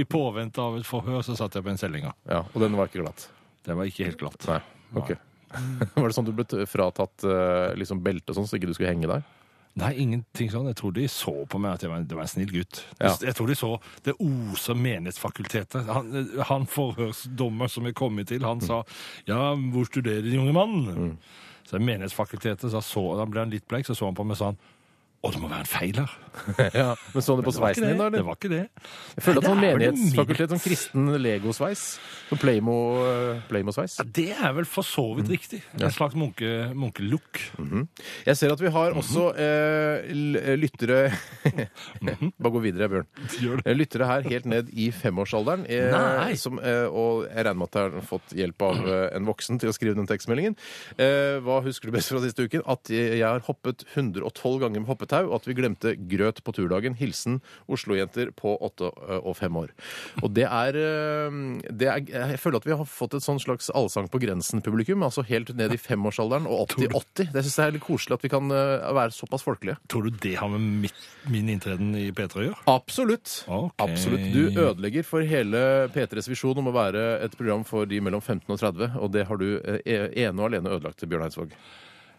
[SPEAKER 3] I påvente av et forhør så satt jeg på en cellinga.
[SPEAKER 2] ja, Og den var ikke glatt?
[SPEAKER 3] Det var ikke helt glatt.
[SPEAKER 2] Nei. ok. Var det sånn du ble t- fratatt eh, liksom belte og sånn, så ikke du skulle henge deg?
[SPEAKER 3] Nei, ingenting sånn. Jeg tror de så på meg at jeg var en, det var en snill gutt.
[SPEAKER 2] Ja.
[SPEAKER 3] Jeg tror de så det oser menighetsfakultetet. Han, han forhørsdommer som jeg kom til,
[SPEAKER 2] Mm.
[SPEAKER 3] han sa ja, hvor studerer din unge mann? Så menighetsfakultetet sa så, da ble han litt bleik, så så han på meg og sa han, å, det må være en feil her.
[SPEAKER 2] Ja, Men så du på
[SPEAKER 3] Det var ikke
[SPEAKER 2] sveisen din, da?
[SPEAKER 3] det. Det
[SPEAKER 2] eller?
[SPEAKER 3] var ikke det.
[SPEAKER 2] Jeg føler at sånn
[SPEAKER 3] Nei, det er vel
[SPEAKER 2] menighetsfakultet, sånn kristen legosveis. Sånn Playmo- eh, Playmo-sveis.
[SPEAKER 3] Ja, det er vel for så
[SPEAKER 2] Mm.
[SPEAKER 3] vidt riktig. En slags munke, munkelukk.
[SPEAKER 2] Jeg ser at vi har også eh, l- lyttere Bare gå videre, Bjørn.
[SPEAKER 3] Gjør
[SPEAKER 2] Eh, Lyttere her helt ned i femårsalderen. eh,
[SPEAKER 3] Nei.
[SPEAKER 2] Som, eh, og jeg regner med at jeg har fått hjelp av eh, en voksen til å skrive den tekstmeldingen. Eh, hva husker du best fra siste uken? At jeg jeg har hoppet 112 ganger med hoppetau, og at vi glemte grøt på turdagen. Hilsen Oslo-jenter på 8 og 5 år. Og det er, eh, det er Jeg føler at vi har fått et sånn slags allsang på grensen-publikum. Altså helt ned i femårsalderen og opp til 80. Det syns jeg er litt koselig at vi kan eh, være såpass folkelige.
[SPEAKER 3] Tror du det har med mitt, min inntreden i P3 å gjøre?
[SPEAKER 2] Absolutt.
[SPEAKER 3] Ok.
[SPEAKER 2] Absolutt. Du ødelegger for hele P3s visjon om å være et program for de mellom 15 og 30, og det har du eh, ene og alene ødelagt, Bjørn Eidsvåg.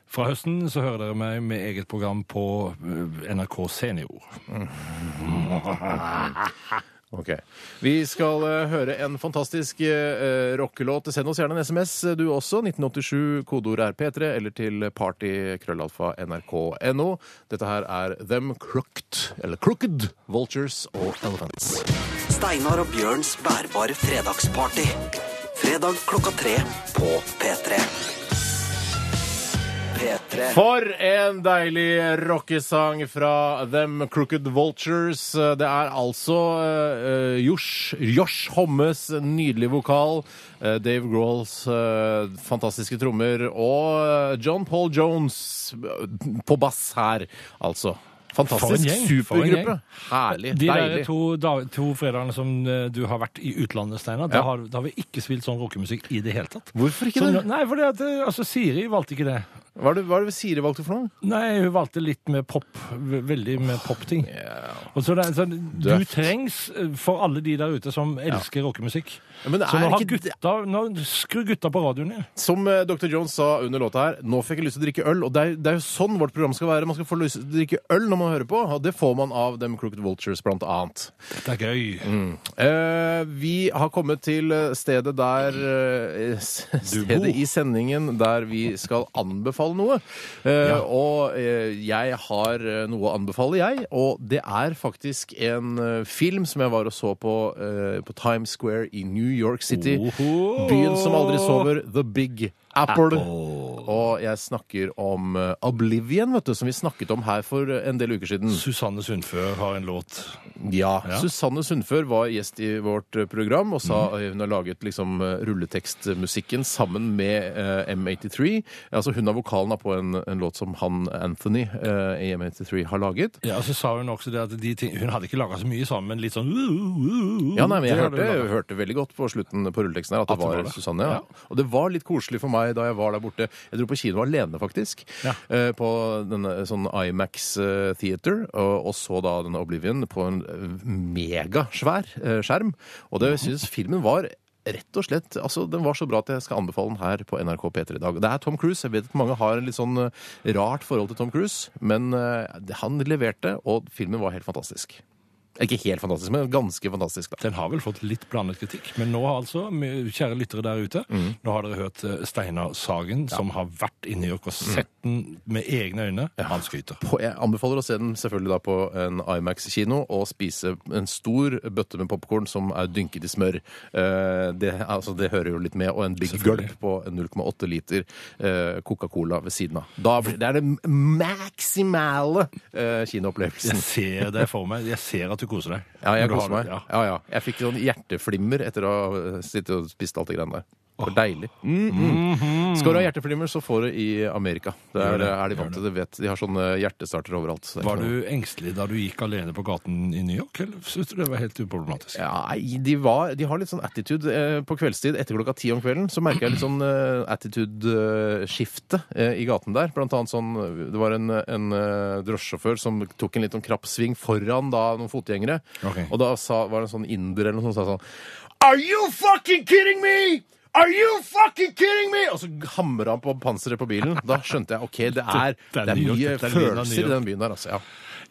[SPEAKER 3] Fra høsten så hører dere meg med eget program på eh, NRK Senior.
[SPEAKER 2] Ok. Vi skal eh, høre en fantastisk eh, rockelåt. Send oss gjerne en SMS, eh, du også. 1987, kodeord er P3, eller til party.krøllalfa.nrk.no. Dette her er Them Crooked, eller Crooked Vultures og Elephants.
[SPEAKER 1] Steinar og Bjørns bærbare fredagsparty. Fredag klokka tre på P3. P3.
[SPEAKER 2] For en deilig rockesang fra Them Crooked Vultures. Det er altså eh, Josh, Josh Hommes nydelige vokal, eh, Dave Grohls eh, fantastiske trommer og eh, John Paul Jones eh, på bass her, altså.
[SPEAKER 3] For en
[SPEAKER 2] Fantastisk
[SPEAKER 3] gjeng, for en
[SPEAKER 2] supergruppe.
[SPEAKER 3] gjeng.
[SPEAKER 2] Herlig.
[SPEAKER 3] De der
[SPEAKER 2] deilig.
[SPEAKER 3] to, da, to fredagene som eh, du har vært i utlandet, Steinar,
[SPEAKER 2] Ja.
[SPEAKER 3] da, har- da har vi ikke spilt sånn rockemusikk i det hele tatt.
[SPEAKER 2] Hvorfor ikke
[SPEAKER 3] Sånn,
[SPEAKER 2] det?
[SPEAKER 3] nei, fordi at, eh, altså, Siri valgte ikke det.
[SPEAKER 2] Hva er det, hva er det Siri valgte for noe?
[SPEAKER 3] Nei, hun valgte litt med pop. v- Veldig med popting. Og så det, er sånn, du
[SPEAKER 2] Døft.
[SPEAKER 3] trengs eh, for alle de der ute som elsker rockemusikk.
[SPEAKER 2] Men det
[SPEAKER 3] Så nå,
[SPEAKER 2] er
[SPEAKER 3] har
[SPEAKER 2] ikke
[SPEAKER 3] gutta, nå skrur gutta på radioen igjen.
[SPEAKER 2] Som eh, Dr. Jones sa under låta her, nå fikk jeg lyst til å drikke øl. Og det er, det er jo sånn vårt program skal være. Man skal få lyst til å drikke øl når man hører på, og det får man av Dem Crooked Vultures, blant annet.
[SPEAKER 3] Det er gøy.
[SPEAKER 2] Eh, vi har kommet til eh, stedet der eh, s-
[SPEAKER 3] Du
[SPEAKER 2] Stedet
[SPEAKER 3] bor.
[SPEAKER 2] i sendingen der vi skal anbefale noe. Eh, Og eh, jeg har eh, noe å anbefale, jeg. Og det er faktisk en eh, film som jeg var og så på eh, på Times Square i New York City.
[SPEAKER 3] Oho!
[SPEAKER 2] Byen som aldri sover. The Big Apple. Og jeg snakker om eh, Oblivion, vet du, som vi snakket om her for eh, en del uker siden.
[SPEAKER 3] Susanne Sundfør har en låt.
[SPEAKER 2] Ja.
[SPEAKER 3] Ja.
[SPEAKER 2] Susanne Sundfør var gjest i vårt eh, program og sa eh, hun har laget liksom eh, rulletekstmusikken sammen med eh, M83. Altså hun har vokalen da på en, en låt som han Anthony eh, i M83 har laget.
[SPEAKER 3] Ja, og så sa Hun også det at de ting, hun hadde ikke laga så mye sammen, men litt sånn
[SPEAKER 2] Ja, nei, men Jeg
[SPEAKER 3] Det hadde
[SPEAKER 2] hørte,
[SPEAKER 3] hun laget.
[SPEAKER 2] hørte veldig godt på slutten på rulleteksten her at det
[SPEAKER 3] At det
[SPEAKER 2] var,
[SPEAKER 3] var det.
[SPEAKER 2] Susanne. Ja.
[SPEAKER 3] Ja.
[SPEAKER 2] Og det var litt koselig for meg da jeg var der borte. Jeg dro på kino alene, faktisk.
[SPEAKER 3] Ja.
[SPEAKER 2] eh, På denne sånn Imax eh, Theater, og, og så da denne Oblivion på en eh, megasvær eh, skjerm. Og det synes filmen var Rett og slett, altså Den var så bra at jeg skal anbefale den her på NRK P3 i dag. Det er Tom Cruise. Jeg vet at mange har en litt sånn eh, rart forhold til Tom Cruise, men eh, det- han leverte, og filmen var helt fantastisk. Ikke helt fantastisk, men ganske fantastisk. da.
[SPEAKER 3] Den har vel fått litt blandet kritikk, men nå har altså, m- kjære lyttere der ute,
[SPEAKER 2] Mm.
[SPEAKER 3] nå har dere hørt eh, Steinar Sagen, som har vært i New York og
[SPEAKER 2] Mm.
[SPEAKER 3] sett den med egne øyne. Han skryter.
[SPEAKER 2] på, jeg anbefaler å se den selvfølgelig da på en Imax-kino og spise en stor bøtte med popkorn som er dynket i smør. Eh, det, altså, det hører jo litt med. Og en big gulp
[SPEAKER 3] Selvfølgelig.
[SPEAKER 2] på 0,8 liter eh, Coca-Cola ved siden av. Da blir, det er den maksimale eh,
[SPEAKER 3] Jeg
[SPEAKER 2] kinoopplevelsen.
[SPEAKER 3] ser det for meg. Jeg ser at du koser deg.
[SPEAKER 2] Ja, jeg
[SPEAKER 3] Du har
[SPEAKER 2] koser meg.
[SPEAKER 3] det, ja.
[SPEAKER 2] Ja, ja. Jeg fikk sånn hjerteflimmer etter å ha eh, sittet og spist alt det greiene der. Det var deilig.
[SPEAKER 3] Mm.
[SPEAKER 2] Mm.
[SPEAKER 3] Mhm.
[SPEAKER 2] Skal du ha hjerteflimmer, så får du i Amerika. Det
[SPEAKER 3] Gjør
[SPEAKER 2] er,
[SPEAKER 3] det,
[SPEAKER 2] er de vant til. De, vet. de har sånne hjertestarter overalt. så det er ikke
[SPEAKER 3] Var
[SPEAKER 2] noe-
[SPEAKER 3] du engstelig da du gikk alene på gaten i New York, eller syntes du det var helt uproblematisk?
[SPEAKER 2] Ja, nei, de, var, de har litt sånn attitude eh, på kveldstid etter klokka ti om kvelden. Så merker jeg litt sånn eh, attitude-skifte eh, i gaten der. Blant annet sånn Det var en, en eh, drosjesjåfør som tok en litt sånn krapp sving foran da noen fotgjengere.
[SPEAKER 3] Ok.
[SPEAKER 2] Og da sa, var det en sånn inder eller noe sånt som sa sånn Are you fucking kidding me?! Are you fucking kidding me?! Og så hamra han på panseret på bilen. Da skjønte jeg OK, det er,
[SPEAKER 3] Det er
[SPEAKER 2] det er
[SPEAKER 3] New York,
[SPEAKER 2] mye
[SPEAKER 3] det er lyden av New
[SPEAKER 2] følelser i
[SPEAKER 3] York.
[SPEAKER 2] den byen der, altså. Ja.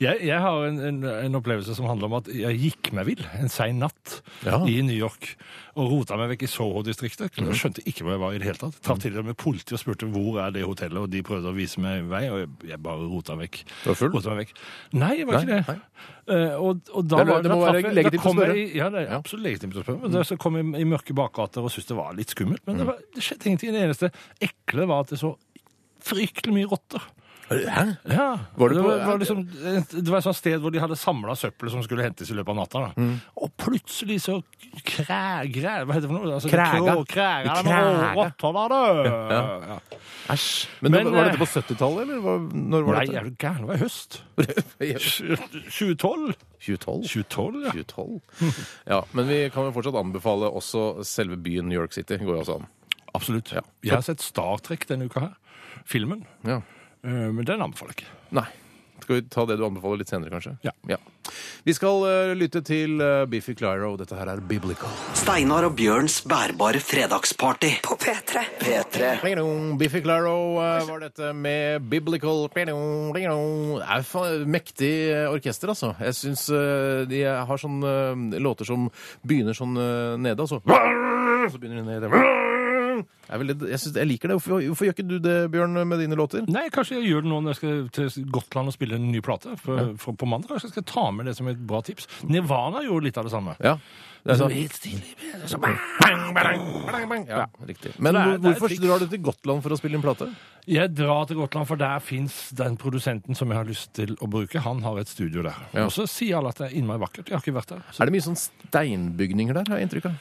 [SPEAKER 3] Jeg, jeg har en, en, en opplevelse som handler om at jeg gikk meg vill en sein natt
[SPEAKER 2] Ja. Mhm.
[SPEAKER 3] i New York og rota meg vekk i Soho-distriktet. Jeg skjønte ikke hvor jeg var i det hele tatt. Traff til og med politi og spurte hvor er det hotellet, og de prøvde å vise meg vei, og jeg, jeg bare rota vekk. Du
[SPEAKER 2] var full?
[SPEAKER 3] Meg vekk. Nei, jeg var
[SPEAKER 2] Nei,
[SPEAKER 3] ikke det. Eh, og, og
[SPEAKER 2] Det
[SPEAKER 3] da
[SPEAKER 2] er lov-
[SPEAKER 3] var-
[SPEAKER 2] det
[SPEAKER 3] da
[SPEAKER 2] må være
[SPEAKER 3] traff jeg-
[SPEAKER 2] legitimt
[SPEAKER 3] da kom
[SPEAKER 2] å spørre.
[SPEAKER 3] jeg i- Ja, det er
[SPEAKER 2] Ja. Mhm.
[SPEAKER 3] absolutt legitimt å spørre. Men da så kom jeg i mørke bakgater og syntes det var litt skummelt, men det, var, det skjedde ingenting. Det eneste ekle var at det så fryktelig mye rotter.
[SPEAKER 2] Hæ?
[SPEAKER 3] Ja.
[SPEAKER 2] Var
[SPEAKER 3] det,
[SPEAKER 2] det på-
[SPEAKER 3] var, var liksom, det var et sånt sted hvor de hadde samla søppelet som skulle hentes i løpet av natta. Da. Og plutselig så kræ... Græ, hva heter det for noe? Altså,
[SPEAKER 2] Kræga.
[SPEAKER 3] krå- Kræga. Det var
[SPEAKER 2] Kræga.
[SPEAKER 3] Rotter der, da! Ja.
[SPEAKER 2] Æsj. Men,
[SPEAKER 3] Men,
[SPEAKER 2] det- var dette
[SPEAKER 3] eh,
[SPEAKER 2] på 70-tallet, eller? hva- Når var
[SPEAKER 3] Nei,
[SPEAKER 2] dette?
[SPEAKER 3] er du gæren? Det var i høst. 2012?
[SPEAKER 2] 2012?
[SPEAKER 3] 2012, ja.
[SPEAKER 2] 2012. Ja, men vi kan jo fortsatt anbefale også selve byen New York City. går jo også an.
[SPEAKER 3] Absolutt. Jeg har sett Star Trek denne uka her. Filmen.
[SPEAKER 2] Ja.
[SPEAKER 3] Eh, Men den anbefaler jeg ikke.
[SPEAKER 2] Nei. Skal Skal vi ta det du anbefaler litt senere, kanskje?
[SPEAKER 3] Ja.
[SPEAKER 2] Vi skal eh, lytte til eh, Biffy Clyro. Dette her er Biblical.
[SPEAKER 1] Steinar og Bjørns bærbare fredagsparty.
[SPEAKER 5] På P3.
[SPEAKER 1] P3.
[SPEAKER 2] Pling-dong, Biffy Claro eh, var dette med Biblical Pling-dong, pling-dong. Det er fa- mektig eh, orkester, altså. Jeg syns de har sånn eh, låter som begynner sånn eh, nede, altså. Så begynner de nede. Det er veldig, jeg, syns- jeg liker det. Hvorfor, hvorfor gjør ikke du det, Bjørn, med dine låter?
[SPEAKER 3] Nei, kanskje jeg gjør det nå når jeg skal til Gotland og spille en ny plate. For, for på mandag kanskje jeg skal ta med det som et bra tips. Nirvana gjorde litt av det samme.
[SPEAKER 2] Ja. Det er sånn.
[SPEAKER 3] Helt stille, så bang, bang, bang, bang, bang.
[SPEAKER 2] Ja, riktig. Men
[SPEAKER 3] Det er-
[SPEAKER 2] hvor-
[SPEAKER 3] det er et
[SPEAKER 2] hvorfor
[SPEAKER 3] triks.
[SPEAKER 2] drar du til Gotland for å spille inn plate?
[SPEAKER 3] Jeg drar til Gotland, for der fins den produsenten som jeg har lyst til å bruke. Han har et studio der.
[SPEAKER 2] Ja.
[SPEAKER 3] Og så sier alle at det er innmari vakkert. Jeg har ikke vært der. Så
[SPEAKER 2] Er det mye sånn steinbygninger der, har jeg inntrykk av?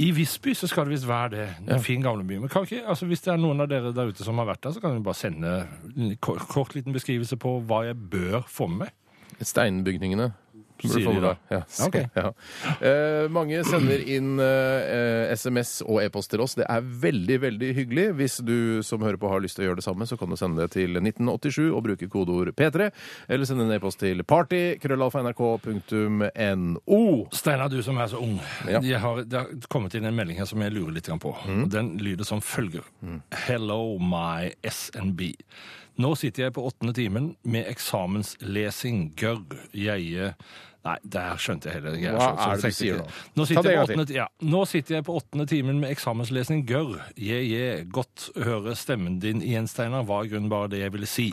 [SPEAKER 3] I Visby så skal det visst være det. En fin gamleby. Men kan ikke, altså hvis det er noen av dere der ute som har vært der, så kan dere bare sende en kort, kort liten beskrivelse på hva jeg bør få med meg.
[SPEAKER 2] Steinbygningene.
[SPEAKER 3] Sier de
[SPEAKER 2] Får du
[SPEAKER 3] da.
[SPEAKER 2] Ja,
[SPEAKER 3] Ja, ok.
[SPEAKER 2] ja. Eh, mange sender inn eh, eh, SMS og e-post til oss. Det er veldig veldig hyggelig. Hvis du som hører på har lyst til å gjøre det samme, så kan du sende det til 1987 og bruke kodeord P3. Eller sende en e-post til party.krøllalfa.nrk.no.
[SPEAKER 3] Steinar, du som er så ung.
[SPEAKER 2] Ja.
[SPEAKER 3] Jeg har, det har kommet inn en melding her som jeg lurer litt grann på. Og Den lyder som følger. Hello, my SNB. Nå sitter jeg på åttende timen med eksamenslesing. Gørr, jeie Nei, der skjønte jeg hele greia.
[SPEAKER 2] Hva
[SPEAKER 3] så-
[SPEAKER 2] er
[SPEAKER 3] så
[SPEAKER 2] det du
[SPEAKER 3] tenkte jeg
[SPEAKER 2] sier nå?
[SPEAKER 3] ikke. Nå
[SPEAKER 2] Ta
[SPEAKER 3] sitter,
[SPEAKER 2] det
[SPEAKER 3] jeg på
[SPEAKER 2] en gang
[SPEAKER 3] åttende, ja, nå sitter jeg på åttende timen med eksamenslesning. Gørr, je, je. Godt høre stemmen din igjen, Steinar. Var i grunnen bare det jeg ville si.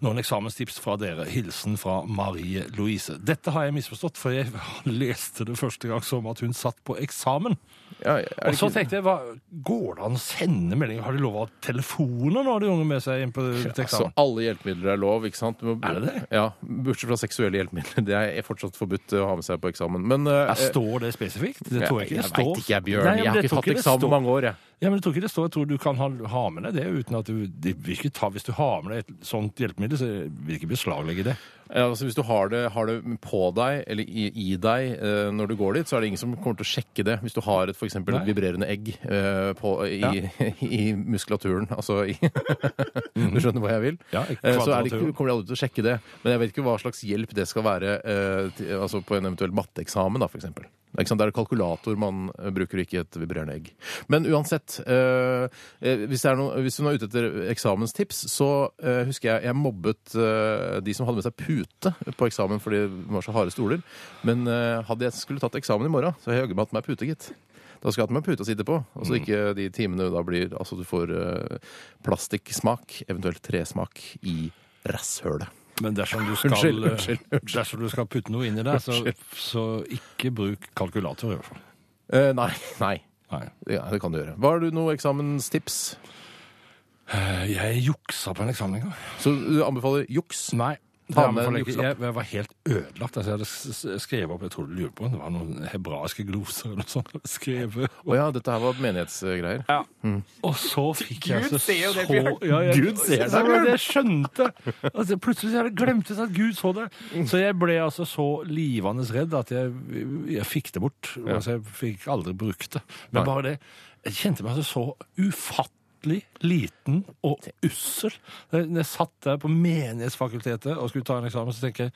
[SPEAKER 3] Noen eksamenstips fra dere. Hilsen fra Marie Louise. Dette har jeg misforstått, for jeg leste det første gang som at hun satt på eksamen.
[SPEAKER 2] Ja, er det
[SPEAKER 3] Og så
[SPEAKER 2] ikke-
[SPEAKER 3] tenkte jeg, hva, går det an å sende meldinger? Har de lov å ha telefoner nå, de unge med seg inn på til
[SPEAKER 2] Altså,
[SPEAKER 3] eksamen?
[SPEAKER 2] alle hjelpemidler er lov, ikke sant? Du må-
[SPEAKER 3] Er det det?
[SPEAKER 2] Ja, Bortsett fra seksuelle hjelpemidler. Det er fortsatt forbudt å ha med seg på eksamen. Men eh,
[SPEAKER 3] Ja, står det spesifikt? Det tror jeg ikke det står.
[SPEAKER 2] veit ikke, jeg, Bjørn.
[SPEAKER 3] Nei, men
[SPEAKER 2] jeg har
[SPEAKER 3] det
[SPEAKER 2] ikke
[SPEAKER 3] tror
[SPEAKER 2] tatt
[SPEAKER 3] det
[SPEAKER 2] eksamen
[SPEAKER 3] står.
[SPEAKER 2] på mange år, jeg.
[SPEAKER 3] Ja, men jeg tror ikke det står. Jeg tror du kan ha, ha med deg det uten at du det vil ikke ta, Hvis du har med deg et sånt hjelpemiddel, så vil de ikke beslaglegge det.
[SPEAKER 2] Ja, altså, hvis du har det, har det på deg, eller i, i deg, eh, når du går dit, så er det ingen som kommer til å sjekke det. Hvis du har et, for eksempel, et
[SPEAKER 3] Nei.
[SPEAKER 2] vibrerende egg eh, på, i, i muskulaturen, altså i Du skjønner hva jeg vil?
[SPEAKER 3] Ja, i
[SPEAKER 2] Eh, så er det
[SPEAKER 3] kvadraturen.
[SPEAKER 2] ikke, kommer de aldri til å sjekke det. Men jeg vet ikke hva slags hjelp det skal være eh, til, altså på en eventuell matteeksamen, da, for eksempel. Det er ikke sant? Det er kalkulator man eh, bruker, ikke et vibrerende egg. Men uansett, eh, eh, hvis, det er noe, hvis hun er ute etter eksamenstips, så eh, husker jeg jeg mobbet eh, de som hadde med seg pute på eksamen fordi det var så harde stoler. Men eh, hadde jeg skulle tatt eksamen i morgen, så hadde jeg jaggu meg hatt meg pute, gitt. Da skal jeg ha meg pute å sitte på, og
[SPEAKER 3] Mm.
[SPEAKER 2] så ikke de timene da blir Altså du får eh, plastikksmak, eventuelt tresmak, i rasshølet.
[SPEAKER 3] Men dersom du skal, eh,
[SPEAKER 2] Unnskyld, unnskyld, unnskyld.
[SPEAKER 3] Dersom du skal putte noe inn i det, så, så ikke bruk kalkulator, i hvert fall.
[SPEAKER 2] Eh, nei. nei.
[SPEAKER 3] Nei.
[SPEAKER 2] Ja, det kan du gjøre. Hva har du noe eksamenstips?
[SPEAKER 3] Eh, Jeg juksa på en eksamen en gang.
[SPEAKER 2] Så du anbefaler juks?
[SPEAKER 3] Nei. Det
[SPEAKER 2] Ta med
[SPEAKER 3] anbefaler jeg,
[SPEAKER 2] en
[SPEAKER 3] ikke. jeg, jeg var helt ødelagt. Altså, jeg hadde s- s- skrevet opp Jeg tror du lurer på om det var noen hebraiske gloser eller noe sånt. Skrevet
[SPEAKER 2] Å ja, dette her var menighetsgreier.
[SPEAKER 3] Ja. Og så fikk jeg
[SPEAKER 4] Gud
[SPEAKER 3] altså
[SPEAKER 4] ser jo det,
[SPEAKER 3] så-
[SPEAKER 4] Bjørn.
[SPEAKER 3] Ja, jeg,
[SPEAKER 2] Gud ser det,
[SPEAKER 3] Så
[SPEAKER 2] Bjørn.
[SPEAKER 3] Jeg skjønte. Altså, plutselig så hadde jeg glemt det, så at Gud så det. Så jeg ble altså så livende redd at jeg, jeg fikk det bort. Altså, jeg fikk aldri brukt det. Men
[SPEAKER 2] Nei.
[SPEAKER 3] bare det. Jeg kjente meg altså så ufattelig liten og ussel. Når jeg satt der på Menighetsfakultetet og skulle ta en eksamen, så tenker jeg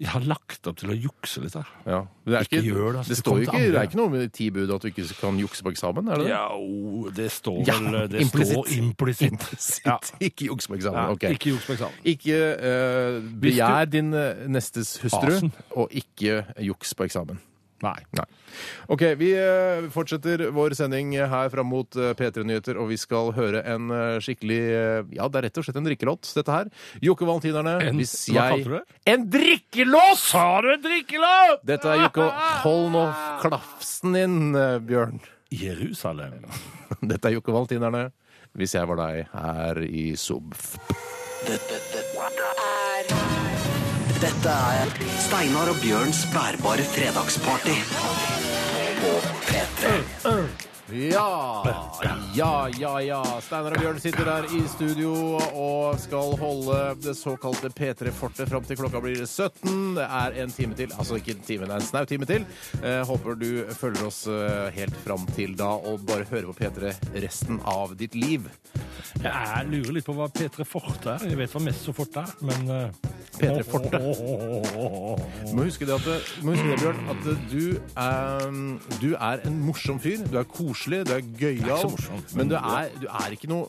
[SPEAKER 3] jeg har lagt opp til å jukse litt her.
[SPEAKER 2] Ja. Men Det, er
[SPEAKER 3] Ikke gjør det,
[SPEAKER 2] det,
[SPEAKER 3] altså. Det
[SPEAKER 2] står
[SPEAKER 3] kommer
[SPEAKER 2] jo
[SPEAKER 3] til
[SPEAKER 2] ikke,
[SPEAKER 3] andre.
[SPEAKER 2] det er ikke noe med ti bud at du ikke kan jukse på eksamen? er det det?
[SPEAKER 3] Ja, o, det står
[SPEAKER 2] Ja,
[SPEAKER 3] vel Det
[SPEAKER 2] implisitt.
[SPEAKER 3] står implisitt. Ja.
[SPEAKER 2] Ikke juks på eksamen.
[SPEAKER 3] Ja,
[SPEAKER 2] ok.
[SPEAKER 3] Ikke juks på eksamen.
[SPEAKER 2] Ikke eh, begjær din eh, nestes hustru,
[SPEAKER 3] Asen.
[SPEAKER 2] og ikke juks på eksamen.
[SPEAKER 3] Nei.
[SPEAKER 2] Nei. OK, vi eh, fortsetter vår sending her fram mot eh, P3 Nyheter, og vi skal høre en eh, skikkelig eh, Ja, det er rett og slett en drikkelåt, dette her. Jokke Valentinerne,
[SPEAKER 3] En-
[SPEAKER 2] hvis
[SPEAKER 3] hva
[SPEAKER 2] jeg
[SPEAKER 3] kalte du det?
[SPEAKER 2] En drikkelås!
[SPEAKER 3] Sa du en drikkelåt?!
[SPEAKER 2] Dette er Jokke Hold nå klafsen din, eh, Bjørn.
[SPEAKER 3] Jerusalem.
[SPEAKER 2] Dette er Jokke Valentinerne. Hvis jeg var deg her i Subf.
[SPEAKER 1] Dette, dette,
[SPEAKER 5] Er
[SPEAKER 1] dette er Steinar og Bjørns bærbare fredagsparty. På P3.
[SPEAKER 2] Ja, ja, ja, ja. Steinar og Bjørn sitter der i studio og skal holde det såkalte P3-fortet fram til klokka blir 17. Det er en time til. Altså ikke en time, det er en snau time til. Eh, håper du følger oss eh, helt fram til da og bare hører på P3 resten av ditt liv.
[SPEAKER 3] Jeg lurer litt på hva P3 Forte er. Jeg vet hva Messo Forte er, men eh,
[SPEAKER 2] P3 Forte. Du må huske det, at, du må huske det Bjørn, at du, eh, du er en morsom fyr. Du er koselig, du er gøyal, men du er, du er ikke noe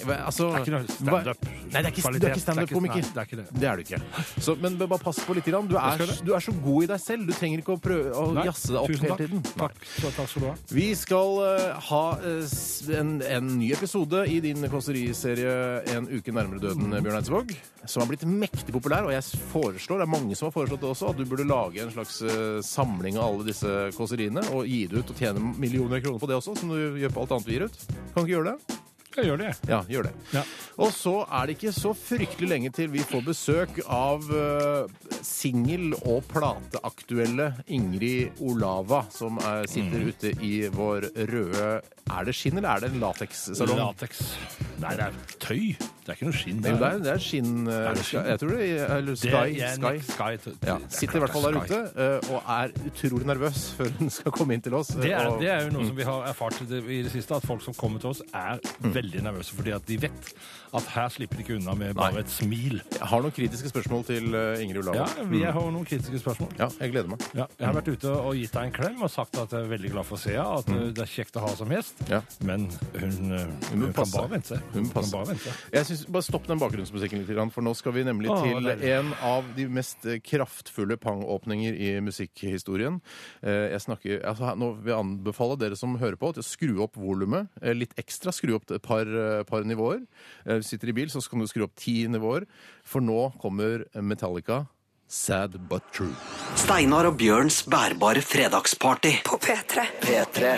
[SPEAKER 2] jeg vet, altså,
[SPEAKER 3] Det er ikke noe
[SPEAKER 2] hva-
[SPEAKER 3] standup-
[SPEAKER 2] Nei, det er ikke, du er
[SPEAKER 3] kvalitet.
[SPEAKER 2] ikke standup-komiker.
[SPEAKER 3] Det er ikke- nei, det er ikke det.
[SPEAKER 2] Det er du ikke. Så, men bare pass på litt. Grann. Du, er, du er så god i deg selv. Du trenger ikke å prøve å
[SPEAKER 3] Nei,
[SPEAKER 2] jazze deg opp
[SPEAKER 3] tusen
[SPEAKER 2] hele
[SPEAKER 3] takk.
[SPEAKER 2] tiden.
[SPEAKER 3] Takk, Så takk skal du ha.
[SPEAKER 2] Vi skal eh, ha eh, s- en, en ny episode i din kåseriserie En uke nærmere døden, Bjørn Eidsvåg, som har blitt mektig populær. Og jeg s- foreslår, det er mange som har foreslått det også, at du burde lage en slags eh, samling av alle disse kåseriene og gi det ut og tjene millioner kroner på det også, som du gjør på alt annet du gir ut. Kan ikke gjøre det?
[SPEAKER 3] Jeg gjør det, jeg.
[SPEAKER 2] Ja, gjør det.
[SPEAKER 3] Ja.
[SPEAKER 2] Og så er det ikke så fryktelig lenge til vi får besøk av eh, singel- og plateaktuelle Ingrid Olava, som eh,
[SPEAKER 3] Mm.
[SPEAKER 2] sitter ute i vår røde Er det skinn, eller er det en latekssalong?
[SPEAKER 3] Latex. Nei, det er tøy. Det er ikke noe skinn.
[SPEAKER 2] Jo, det er, det er skinn... eh,
[SPEAKER 3] Er det skinn?
[SPEAKER 2] Jeg tror det er eller
[SPEAKER 3] Det
[SPEAKER 2] Sky.
[SPEAKER 3] er-
[SPEAKER 2] sky.
[SPEAKER 3] Sky. Det er
[SPEAKER 2] Ja,
[SPEAKER 3] klart
[SPEAKER 2] sitter i hvert fall
[SPEAKER 3] det
[SPEAKER 2] der
[SPEAKER 3] er Sky.
[SPEAKER 2] ute eh, og er utrolig nervøs før hun skal komme inn til oss. eh,
[SPEAKER 3] Det er,
[SPEAKER 2] og-
[SPEAKER 3] det er jo noe som vi har erfart i det- i det siste, at folk som kommer til oss er
[SPEAKER 2] Mm.
[SPEAKER 3] veldig nervøse fordi at de vet at her slipper de ikke unna med bare et smil.
[SPEAKER 2] Jeg har noen kritiske spørsmål til eh, Ingrid
[SPEAKER 3] Ja,
[SPEAKER 2] Olava.
[SPEAKER 3] vi har noen kritiske spørsmål.
[SPEAKER 2] Ja, jeg gleder meg.
[SPEAKER 3] Ja, jeg har vært ute og gitt deg en klem og sagt at jeg er veldig glad for å se henne, at uh, det er kjekt å ha som gjest,
[SPEAKER 2] Mm. Ja.
[SPEAKER 3] men hun, uh, hun,
[SPEAKER 2] må
[SPEAKER 3] kan
[SPEAKER 2] passe.
[SPEAKER 3] bare vente.
[SPEAKER 2] Hun må passe.
[SPEAKER 3] kan bare vente.
[SPEAKER 2] Jeg synes, Bare stopp den bakgrunnsmusikken litt, grann, for nå skal vi nemlig
[SPEAKER 3] Å,
[SPEAKER 2] til
[SPEAKER 3] deilig.
[SPEAKER 2] en av de mest eh, kraftfulle pangåpninger i musikkhistorien. Eh, Jeg snakker, altså, her- Nå vil jeg anbefale dere som hører på, til å skru opp volumet eh, litt ekstra. Skru opp et par, eh, par nivåer. Eh, Sitter i bil, så kan du skru opp ti nivåer. For nå kommer Metallica. Sad but true.
[SPEAKER 1] Steinar og Bjørns bærbare fredagsparty.
[SPEAKER 5] På P3.
[SPEAKER 1] P3.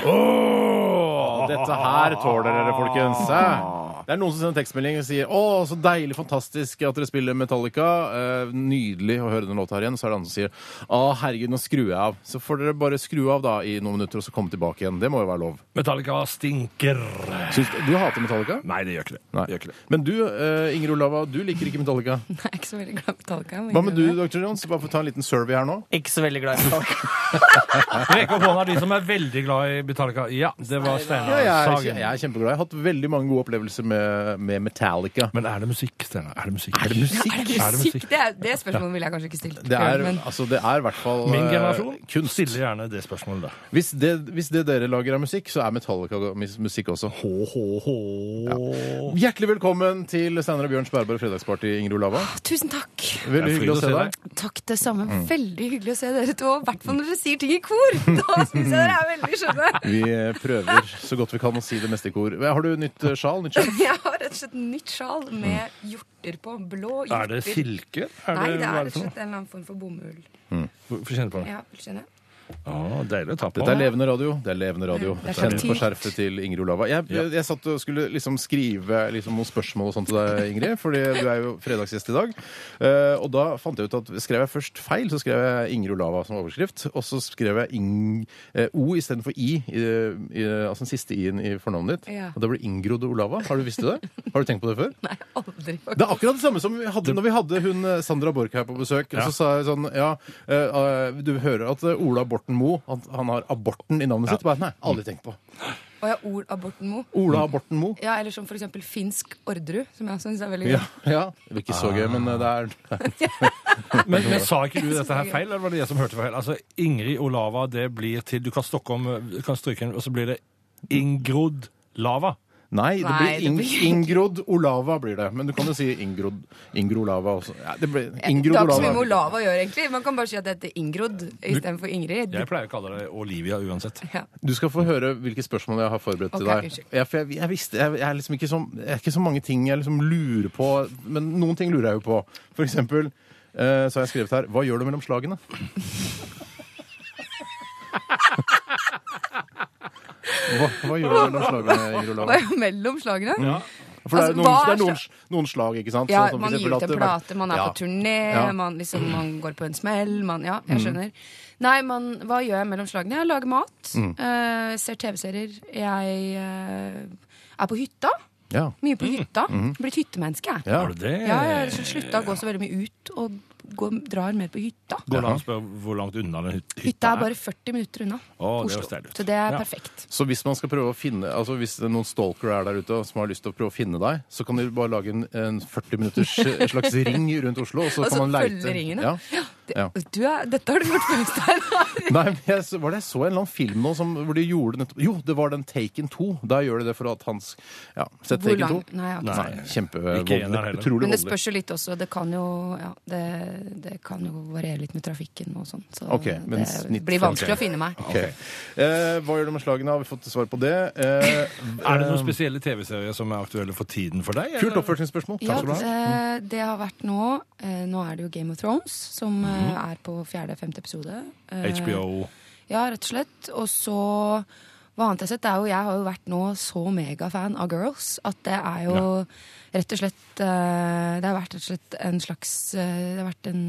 [SPEAKER 2] Og Dette her tåler dere, folkens.
[SPEAKER 3] Ah.
[SPEAKER 2] Hæ? Det er noen som sender tekstmelding og sier 'Å, så deilig, fantastisk at dere spiller Metallica'. Eh, Nydelig å høre den låta her igjen. Så er det andre som sier 'Å, herregud, nå skrur jeg av'. Så får dere bare skru av da i noen minutter og så komme tilbake igjen. Det må jo være lov.
[SPEAKER 3] Metallica stinker.
[SPEAKER 2] Syns du, du hater Metallica?
[SPEAKER 3] Nei, det gjør ikke det.
[SPEAKER 2] Nei.
[SPEAKER 3] Det gjør ikke det.
[SPEAKER 2] Men du, eh, Inger Olava, du liker ikke Metallica.
[SPEAKER 6] Jeg er ikke så veldig glad i Metallica. må jeg
[SPEAKER 2] Hva med du,
[SPEAKER 6] innrømme.
[SPEAKER 2] Dr. Jones? Bare for å ta en liten survey her nå.
[SPEAKER 4] Ikke så veldig glad i Metallica.
[SPEAKER 3] Rekke opp hånda de som er veldig glad i Metallica. Ja, det var
[SPEAKER 2] Ja,
[SPEAKER 3] Steinar
[SPEAKER 2] jeg er,
[SPEAKER 3] Sagen.
[SPEAKER 2] jeg er kjempeglad. Jeg har hatt veldig mange gode opplevelser med, med Metallica.
[SPEAKER 3] Men er det musikk, Steinar? Er det musikk?
[SPEAKER 2] Er det musikk?
[SPEAKER 6] Er det musikk? Det, er, det spørsmålet ville jeg kanskje ikke stilt.
[SPEAKER 2] Det er,
[SPEAKER 6] men
[SPEAKER 2] altså, det er i hvert fall
[SPEAKER 3] Min
[SPEAKER 2] eh,
[SPEAKER 3] generasjon
[SPEAKER 2] kunst.
[SPEAKER 3] stiller gjerne det spørsmålet der.
[SPEAKER 2] Hvis det, hvis det dere lager av musikk, så er Metallica mis- musikk også.
[SPEAKER 3] Ja.
[SPEAKER 2] Hjertelig velkommen til Steinar og Bjørns bærbare fredagsparty, Ingrid Olava.
[SPEAKER 6] tusen takk.
[SPEAKER 2] Veldig hyggelig å se deg.
[SPEAKER 6] Takk, det samme. Veldig hyggelig å se dere to. I hvert fall når dere sier ting i kor. Da syns jeg dere er veldig skjønne.
[SPEAKER 2] Vi eh, prøver så godt vi kan å si det meste i kor. Har du nytt eh, sjal? Nytt sjal?
[SPEAKER 6] Jeg har rett og slett nytt sjal med hjorter på. Blå hjorter.
[SPEAKER 3] Er det silke? Er
[SPEAKER 6] Nei, det er
[SPEAKER 3] hva
[SPEAKER 6] rett og
[SPEAKER 3] for noe?
[SPEAKER 6] slett en eller annen form for bomull.
[SPEAKER 3] Få kjenne på det.
[SPEAKER 6] Ja, vil du skjønne?
[SPEAKER 3] Å, deilig å ta på.
[SPEAKER 2] Dette er levende radio. Det er levende radio.
[SPEAKER 6] Det er
[SPEAKER 2] Kjenn på
[SPEAKER 6] taktilt.
[SPEAKER 2] skjerfet til Ingrid Olava. Jeg, jeg, jeg satt og skulle liksom skrive liksom noen spørsmål og sånt til deg, Ingrid, fordi du er jo fredagsgjest i dag. Eh, og da fant jeg ut at skrev jeg først feil, så skrev jeg Ingrid Olava som overskrift. Og så skrev jeg Ing, eh, O istedenfor I, i, i, altså den siste I-en i fornavnet ditt.
[SPEAKER 6] Ja.
[SPEAKER 2] Og da ble det Ingrod Olava. Har du visst det? Har du tenkt på det før?
[SPEAKER 6] Nei, aldri.
[SPEAKER 2] Det er akkurat det samme som vi hadde når vi hadde hun eh, Sandra Borch her på besøk. Og så sa jeg sånn Ja, eh, eh, du hører at eh, Ola Borten Moe han, han har aborten i navnet sitt. Bare, nei, aldri tenkt på.
[SPEAKER 6] Og jeg har ord av Borten Moe.
[SPEAKER 2] Ola Borten Moe.
[SPEAKER 6] Ja, eller som for eksempel finsk Orderud, som jeg syns er veldig gøy.
[SPEAKER 2] Ja, ja. Det blir ikke så gøy, men eh, det er
[SPEAKER 3] Men, men sa ikke du dette her feil, eller var det jeg som hørte feil? Altså, Ingrid Olava, det blir til Du kan stokke om, du kan stryke den, og så blir det Ingrod Lava.
[SPEAKER 2] Nei, det
[SPEAKER 6] Nei,
[SPEAKER 2] blir
[SPEAKER 6] det
[SPEAKER 2] Ing
[SPEAKER 6] blir-
[SPEAKER 2] Ingrod Olava blir det. Men du kan jo si Ingrod Ingro Olava også. Ja, det blir Ingrod
[SPEAKER 6] det har ikke så mye med
[SPEAKER 2] Olava.
[SPEAKER 6] Olava å gjøre, egentlig. Man kan bare si at det heter Ingrod istedenfor Ingrid.
[SPEAKER 3] Jeg pleier å kalle det Olivia uansett.
[SPEAKER 6] Ja.
[SPEAKER 2] Du skal få høre hvilke spørsmål jeg har forberedt til
[SPEAKER 6] Ok,
[SPEAKER 2] deg.
[SPEAKER 6] unnskyld.
[SPEAKER 2] Ja, for jeg, jeg visste, jeg, jeg er liksom ikke så, jeg er ikke så mange ting jeg liksom lurer på, men noen ting lurer jeg jo på. For eksempel eh, så har jeg skrevet her Hva gjør du mellom slagene? Hva, hva gjør du mellom slagene, Ingrid
[SPEAKER 6] Hva
[SPEAKER 2] Olav?
[SPEAKER 6] er jo mellom slagene?
[SPEAKER 2] For det er
[SPEAKER 6] altså,
[SPEAKER 2] jo noen,
[SPEAKER 6] hva er
[SPEAKER 2] det er noen, noen slag, ikke sant?
[SPEAKER 6] Ja,
[SPEAKER 2] Sånn som for
[SPEAKER 6] man gir
[SPEAKER 2] eksempel
[SPEAKER 6] ut
[SPEAKER 2] at
[SPEAKER 6] en
[SPEAKER 2] det-
[SPEAKER 6] plate, man er
[SPEAKER 2] ja.
[SPEAKER 6] på turné,
[SPEAKER 2] Ja. Mm.
[SPEAKER 6] man, liksom, man går på en smell, man Ja, jeg skjønner. Nei, man, hva gjør jeg mellom slagene? Jeg lager mat,
[SPEAKER 2] Mm.
[SPEAKER 6] eh, ser TV-serier, jeg eh, er på hytta.
[SPEAKER 2] Ja.
[SPEAKER 6] Mye på hytta. Blitt hyttemenneske, jeg.
[SPEAKER 2] Mm. Ja.
[SPEAKER 3] Har du det?
[SPEAKER 6] Ja, jeg har liksom slutta å gå så veldig mye ut og går, drar mer på hytta.
[SPEAKER 3] Går det an å spørre hvor langt unna den hyt-
[SPEAKER 6] Hytta er bare 40 minutter unna
[SPEAKER 3] Å, det høres
[SPEAKER 6] Oslo.
[SPEAKER 3] deilig ut.
[SPEAKER 6] Så det er
[SPEAKER 3] Ja.
[SPEAKER 6] perfekt.
[SPEAKER 2] Så hvis man skal prøve å finne, altså hvis det er noen stalkere er der ute som har lyst til å prøve å finne deg, så kan du bare lage en, en 40 minutters eh, slags ring rundt Oslo, og så
[SPEAKER 6] Og
[SPEAKER 2] kan
[SPEAKER 6] så
[SPEAKER 2] man leite.
[SPEAKER 6] følger ringen,
[SPEAKER 2] ja.
[SPEAKER 6] da. Det,
[SPEAKER 2] Ja.
[SPEAKER 6] du er, dette har du gjort før, Stein.
[SPEAKER 2] Nei, men jeg, så- var det jeg så en eller annen film nå som, hvor de gjorde nettopp Jo, det var den Taken 2. Da gjør de det for at hans Ja, sett
[SPEAKER 6] Hvor
[SPEAKER 2] Taken 2.
[SPEAKER 6] lang? Nei, jeg har ikke
[SPEAKER 2] Nei,
[SPEAKER 3] sett den. Ikke en der
[SPEAKER 2] kjempevoldelig.
[SPEAKER 3] heller.
[SPEAKER 2] Utrolig
[SPEAKER 6] Men det
[SPEAKER 2] voldelig.
[SPEAKER 6] spørs jo litt også. Det kan jo, ja, det, det kan jo variere litt med trafikken og sånn. Så
[SPEAKER 2] Ok, men
[SPEAKER 6] det
[SPEAKER 2] snitt-
[SPEAKER 6] blir vanskelig
[SPEAKER 2] ok.
[SPEAKER 6] å finne meg.
[SPEAKER 2] Ok. Eh, hva gjør du med slagene? Har vi fått svar på det? Eh,
[SPEAKER 3] Er det noen spesielle TV-serier som er aktuelle for tiden for deg? eller?
[SPEAKER 2] Kult oppfølgingsspørsmål.
[SPEAKER 6] Ja,
[SPEAKER 2] Takk skal du ha. Mm.
[SPEAKER 6] eh, det har vært nå. eh, Nå er det jo Game of Thrones, som eh,
[SPEAKER 2] Mhm.
[SPEAKER 6] er på fjerde-femte episode. Eh,
[SPEAKER 3] HBO.
[SPEAKER 6] Ja, rett og slett. Og så hva annet jeg har sett, er jo Jeg har jo vært nå så megafan av Girls at det er jo rett og slett eh, Det har vært rett og slett en slags eh, Det har vært en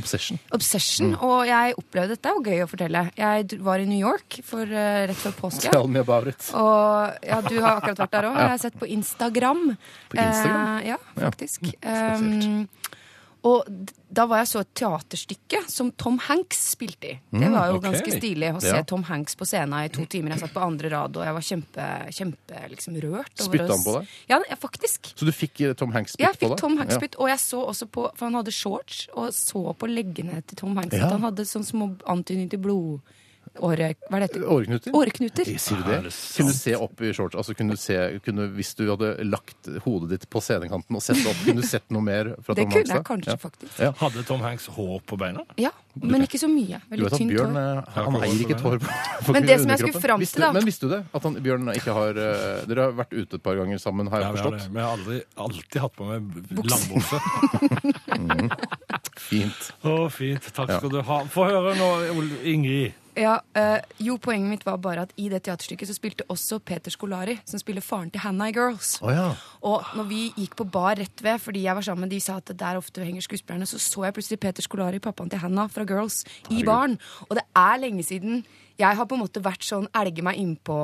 [SPEAKER 2] Obsession. Mm.
[SPEAKER 6] obsession. Og jeg opplevde dette, er jo gøy å fortelle. Jeg dr- var i New York for eh, rett før påske.
[SPEAKER 2] Tell me about it.
[SPEAKER 6] Og ja, du har akkurat vært der òg. Jeg har sett på Instagram.
[SPEAKER 2] På Instagram? Mm,
[SPEAKER 6] Eh, ja, faktisk.
[SPEAKER 2] spesielt.
[SPEAKER 6] Um, og d- da var jeg så et teaterstykke som Tom Hanks spilte i. Det var jo
[SPEAKER 3] ok.
[SPEAKER 6] ganske stilig å se
[SPEAKER 2] Mm, Ja.
[SPEAKER 6] Tom Hanks på scenen i to timer. Jeg satt på andre rad, og jeg var kjempe, kjempe liksom, rørt. over
[SPEAKER 2] Spyttet
[SPEAKER 6] å
[SPEAKER 2] han på
[SPEAKER 6] s- Ja, ja, faktisk.
[SPEAKER 2] Så du fikk eh, Tom Hanks spytt
[SPEAKER 6] Jeg
[SPEAKER 2] på
[SPEAKER 6] fikk
[SPEAKER 2] deg?
[SPEAKER 6] Tom Hanks
[SPEAKER 2] Ja.
[SPEAKER 6] spytt, og jeg så også på For han hadde shorts, og så på leggene til Tom Hanks
[SPEAKER 2] Ja.
[SPEAKER 6] at han hadde sånn små antydning til blodåre... Hva er det heter?
[SPEAKER 2] Åreknuter?
[SPEAKER 6] Åreknuter.
[SPEAKER 2] Eh, Sier du det?
[SPEAKER 3] Er det sant?
[SPEAKER 2] Kunne du se opp i shorts? Altså kunne du se, kunne, hvis du hadde lagt hodet ditt på scenekanten og sett det opp, kunne du sett noe mer fra
[SPEAKER 6] Det
[SPEAKER 2] Tom Hanks?
[SPEAKER 6] kunne jeg
[SPEAKER 2] da?
[SPEAKER 6] kanskje,
[SPEAKER 2] Ja.
[SPEAKER 6] faktisk.
[SPEAKER 3] Hadde Tom Hanks hår på beina?
[SPEAKER 6] Ja, men ikke så mye.
[SPEAKER 2] Du
[SPEAKER 6] Veldig
[SPEAKER 2] vet at
[SPEAKER 6] tynt
[SPEAKER 2] Bjørn
[SPEAKER 6] hår.
[SPEAKER 2] eh,
[SPEAKER 3] Ja,
[SPEAKER 2] han
[SPEAKER 3] kan
[SPEAKER 2] eier
[SPEAKER 3] også
[SPEAKER 2] ikke et hår på, på
[SPEAKER 6] Men det som jeg skulle
[SPEAKER 2] underkroppen.
[SPEAKER 6] fram til,
[SPEAKER 2] visste,
[SPEAKER 6] da-
[SPEAKER 2] Men visste du det? At han, Bjørn ikke har eh, Dere har vært ute et par ganger sammen, har jeg
[SPEAKER 3] vi har det.
[SPEAKER 2] forstått?
[SPEAKER 3] Men jeg har aldri, alltid hatt på meg b- langbukse.
[SPEAKER 2] Fint.
[SPEAKER 3] Å, fint. Takk skal du ha. Få høre nå, Ol- Ingrid.
[SPEAKER 6] Ja, eh, jo, poenget mitt var bare at i det teaterstykket så spilte også Peter Skolari, som spiller faren til Hannah i Girls.
[SPEAKER 2] Å ja.
[SPEAKER 6] Og når vi gikk på bar rett ved, fordi jeg var sammen med de sa at der ofte henger skuespillerne, så så jeg plutselig Peter Skolari, pappaen til Hannah fra Girls, i baren. Og det er lenge siden jeg har på en måte vært sånn elge meg innpå